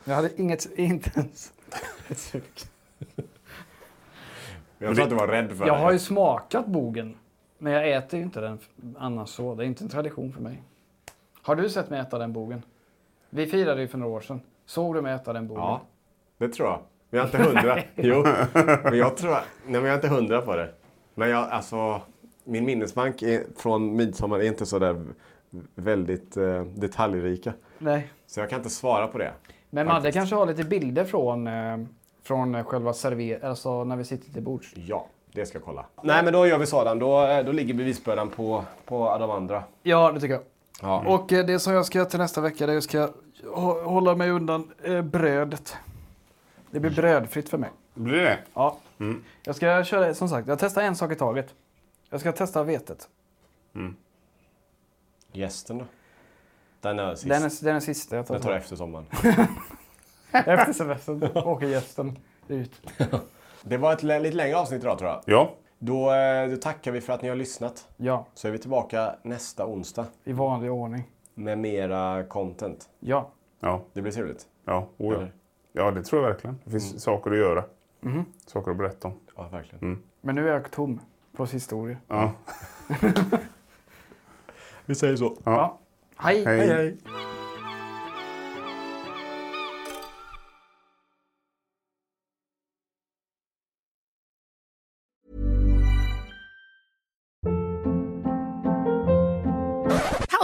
[SPEAKER 3] Jag hade inget, inte ens ett sug.
[SPEAKER 2] Jag tror att du var rädd för
[SPEAKER 3] Jag
[SPEAKER 2] det.
[SPEAKER 3] har ju smakat bogen. Men jag äter ju inte den f- annars så. Det är inte en tradition för mig. Har du sett mig äta den bogen? Vi firade ju för några år sedan. Såg du mig äta den bogen?
[SPEAKER 2] Ja, det tror jag. Men jag är inte hundra. jo, men jag tror... Nej, men jag är inte hundra på det. Men jag, alltså... Min minnesbank är, från midsommar är inte så där väldigt eh, detaljrika.
[SPEAKER 3] Nej.
[SPEAKER 2] Så jag kan inte svara på det.
[SPEAKER 3] Men Madde kanske har lite bilder från, eh, från själva server, alltså när vi sitter till bords.
[SPEAKER 2] Ja, det ska jag kolla. Nej, men då gör vi sådan. Då, eh, då ligger bevisbördan på, på de andra.
[SPEAKER 3] Ja, det tycker jag.
[SPEAKER 2] Ja.
[SPEAKER 3] Och eh, det som jag ska göra till nästa vecka, det är att jag ska hå- hålla mig undan eh, brödet. Det blir brödfritt för mig.
[SPEAKER 1] Blir det?
[SPEAKER 3] Ja. Jag ska köra, som sagt, jag testar en sak i taget. Jag ska testa vetet.
[SPEAKER 2] Gästen då? Den är sist.
[SPEAKER 3] Den är, den är sista jag tar.
[SPEAKER 2] Den tar jag efter sommaren.
[SPEAKER 3] Efter semestern åker gästen ut.
[SPEAKER 2] Det var ett lä- lite längre avsnitt idag tror jag.
[SPEAKER 1] Ja.
[SPEAKER 2] Då, eh, då tackar vi för att ni har lyssnat.
[SPEAKER 3] Ja,
[SPEAKER 2] Så är vi tillbaka nästa onsdag
[SPEAKER 3] i vanlig ordning.
[SPEAKER 2] med mera content.
[SPEAKER 3] Ja.
[SPEAKER 1] Ja.
[SPEAKER 2] Det blir trevligt.
[SPEAKER 1] Ja. Oh, ja.
[SPEAKER 2] Eller? Mm.
[SPEAKER 1] ja, det tror jag verkligen. Det finns saker att göra.
[SPEAKER 3] Mhm.
[SPEAKER 1] Saker att berätta om.
[SPEAKER 2] Ja, verkligen.
[SPEAKER 3] Men nu är jag tom på historier.
[SPEAKER 1] Ja.
[SPEAKER 2] Vi säger så.
[SPEAKER 3] Ja. Hej!
[SPEAKER 1] Hej.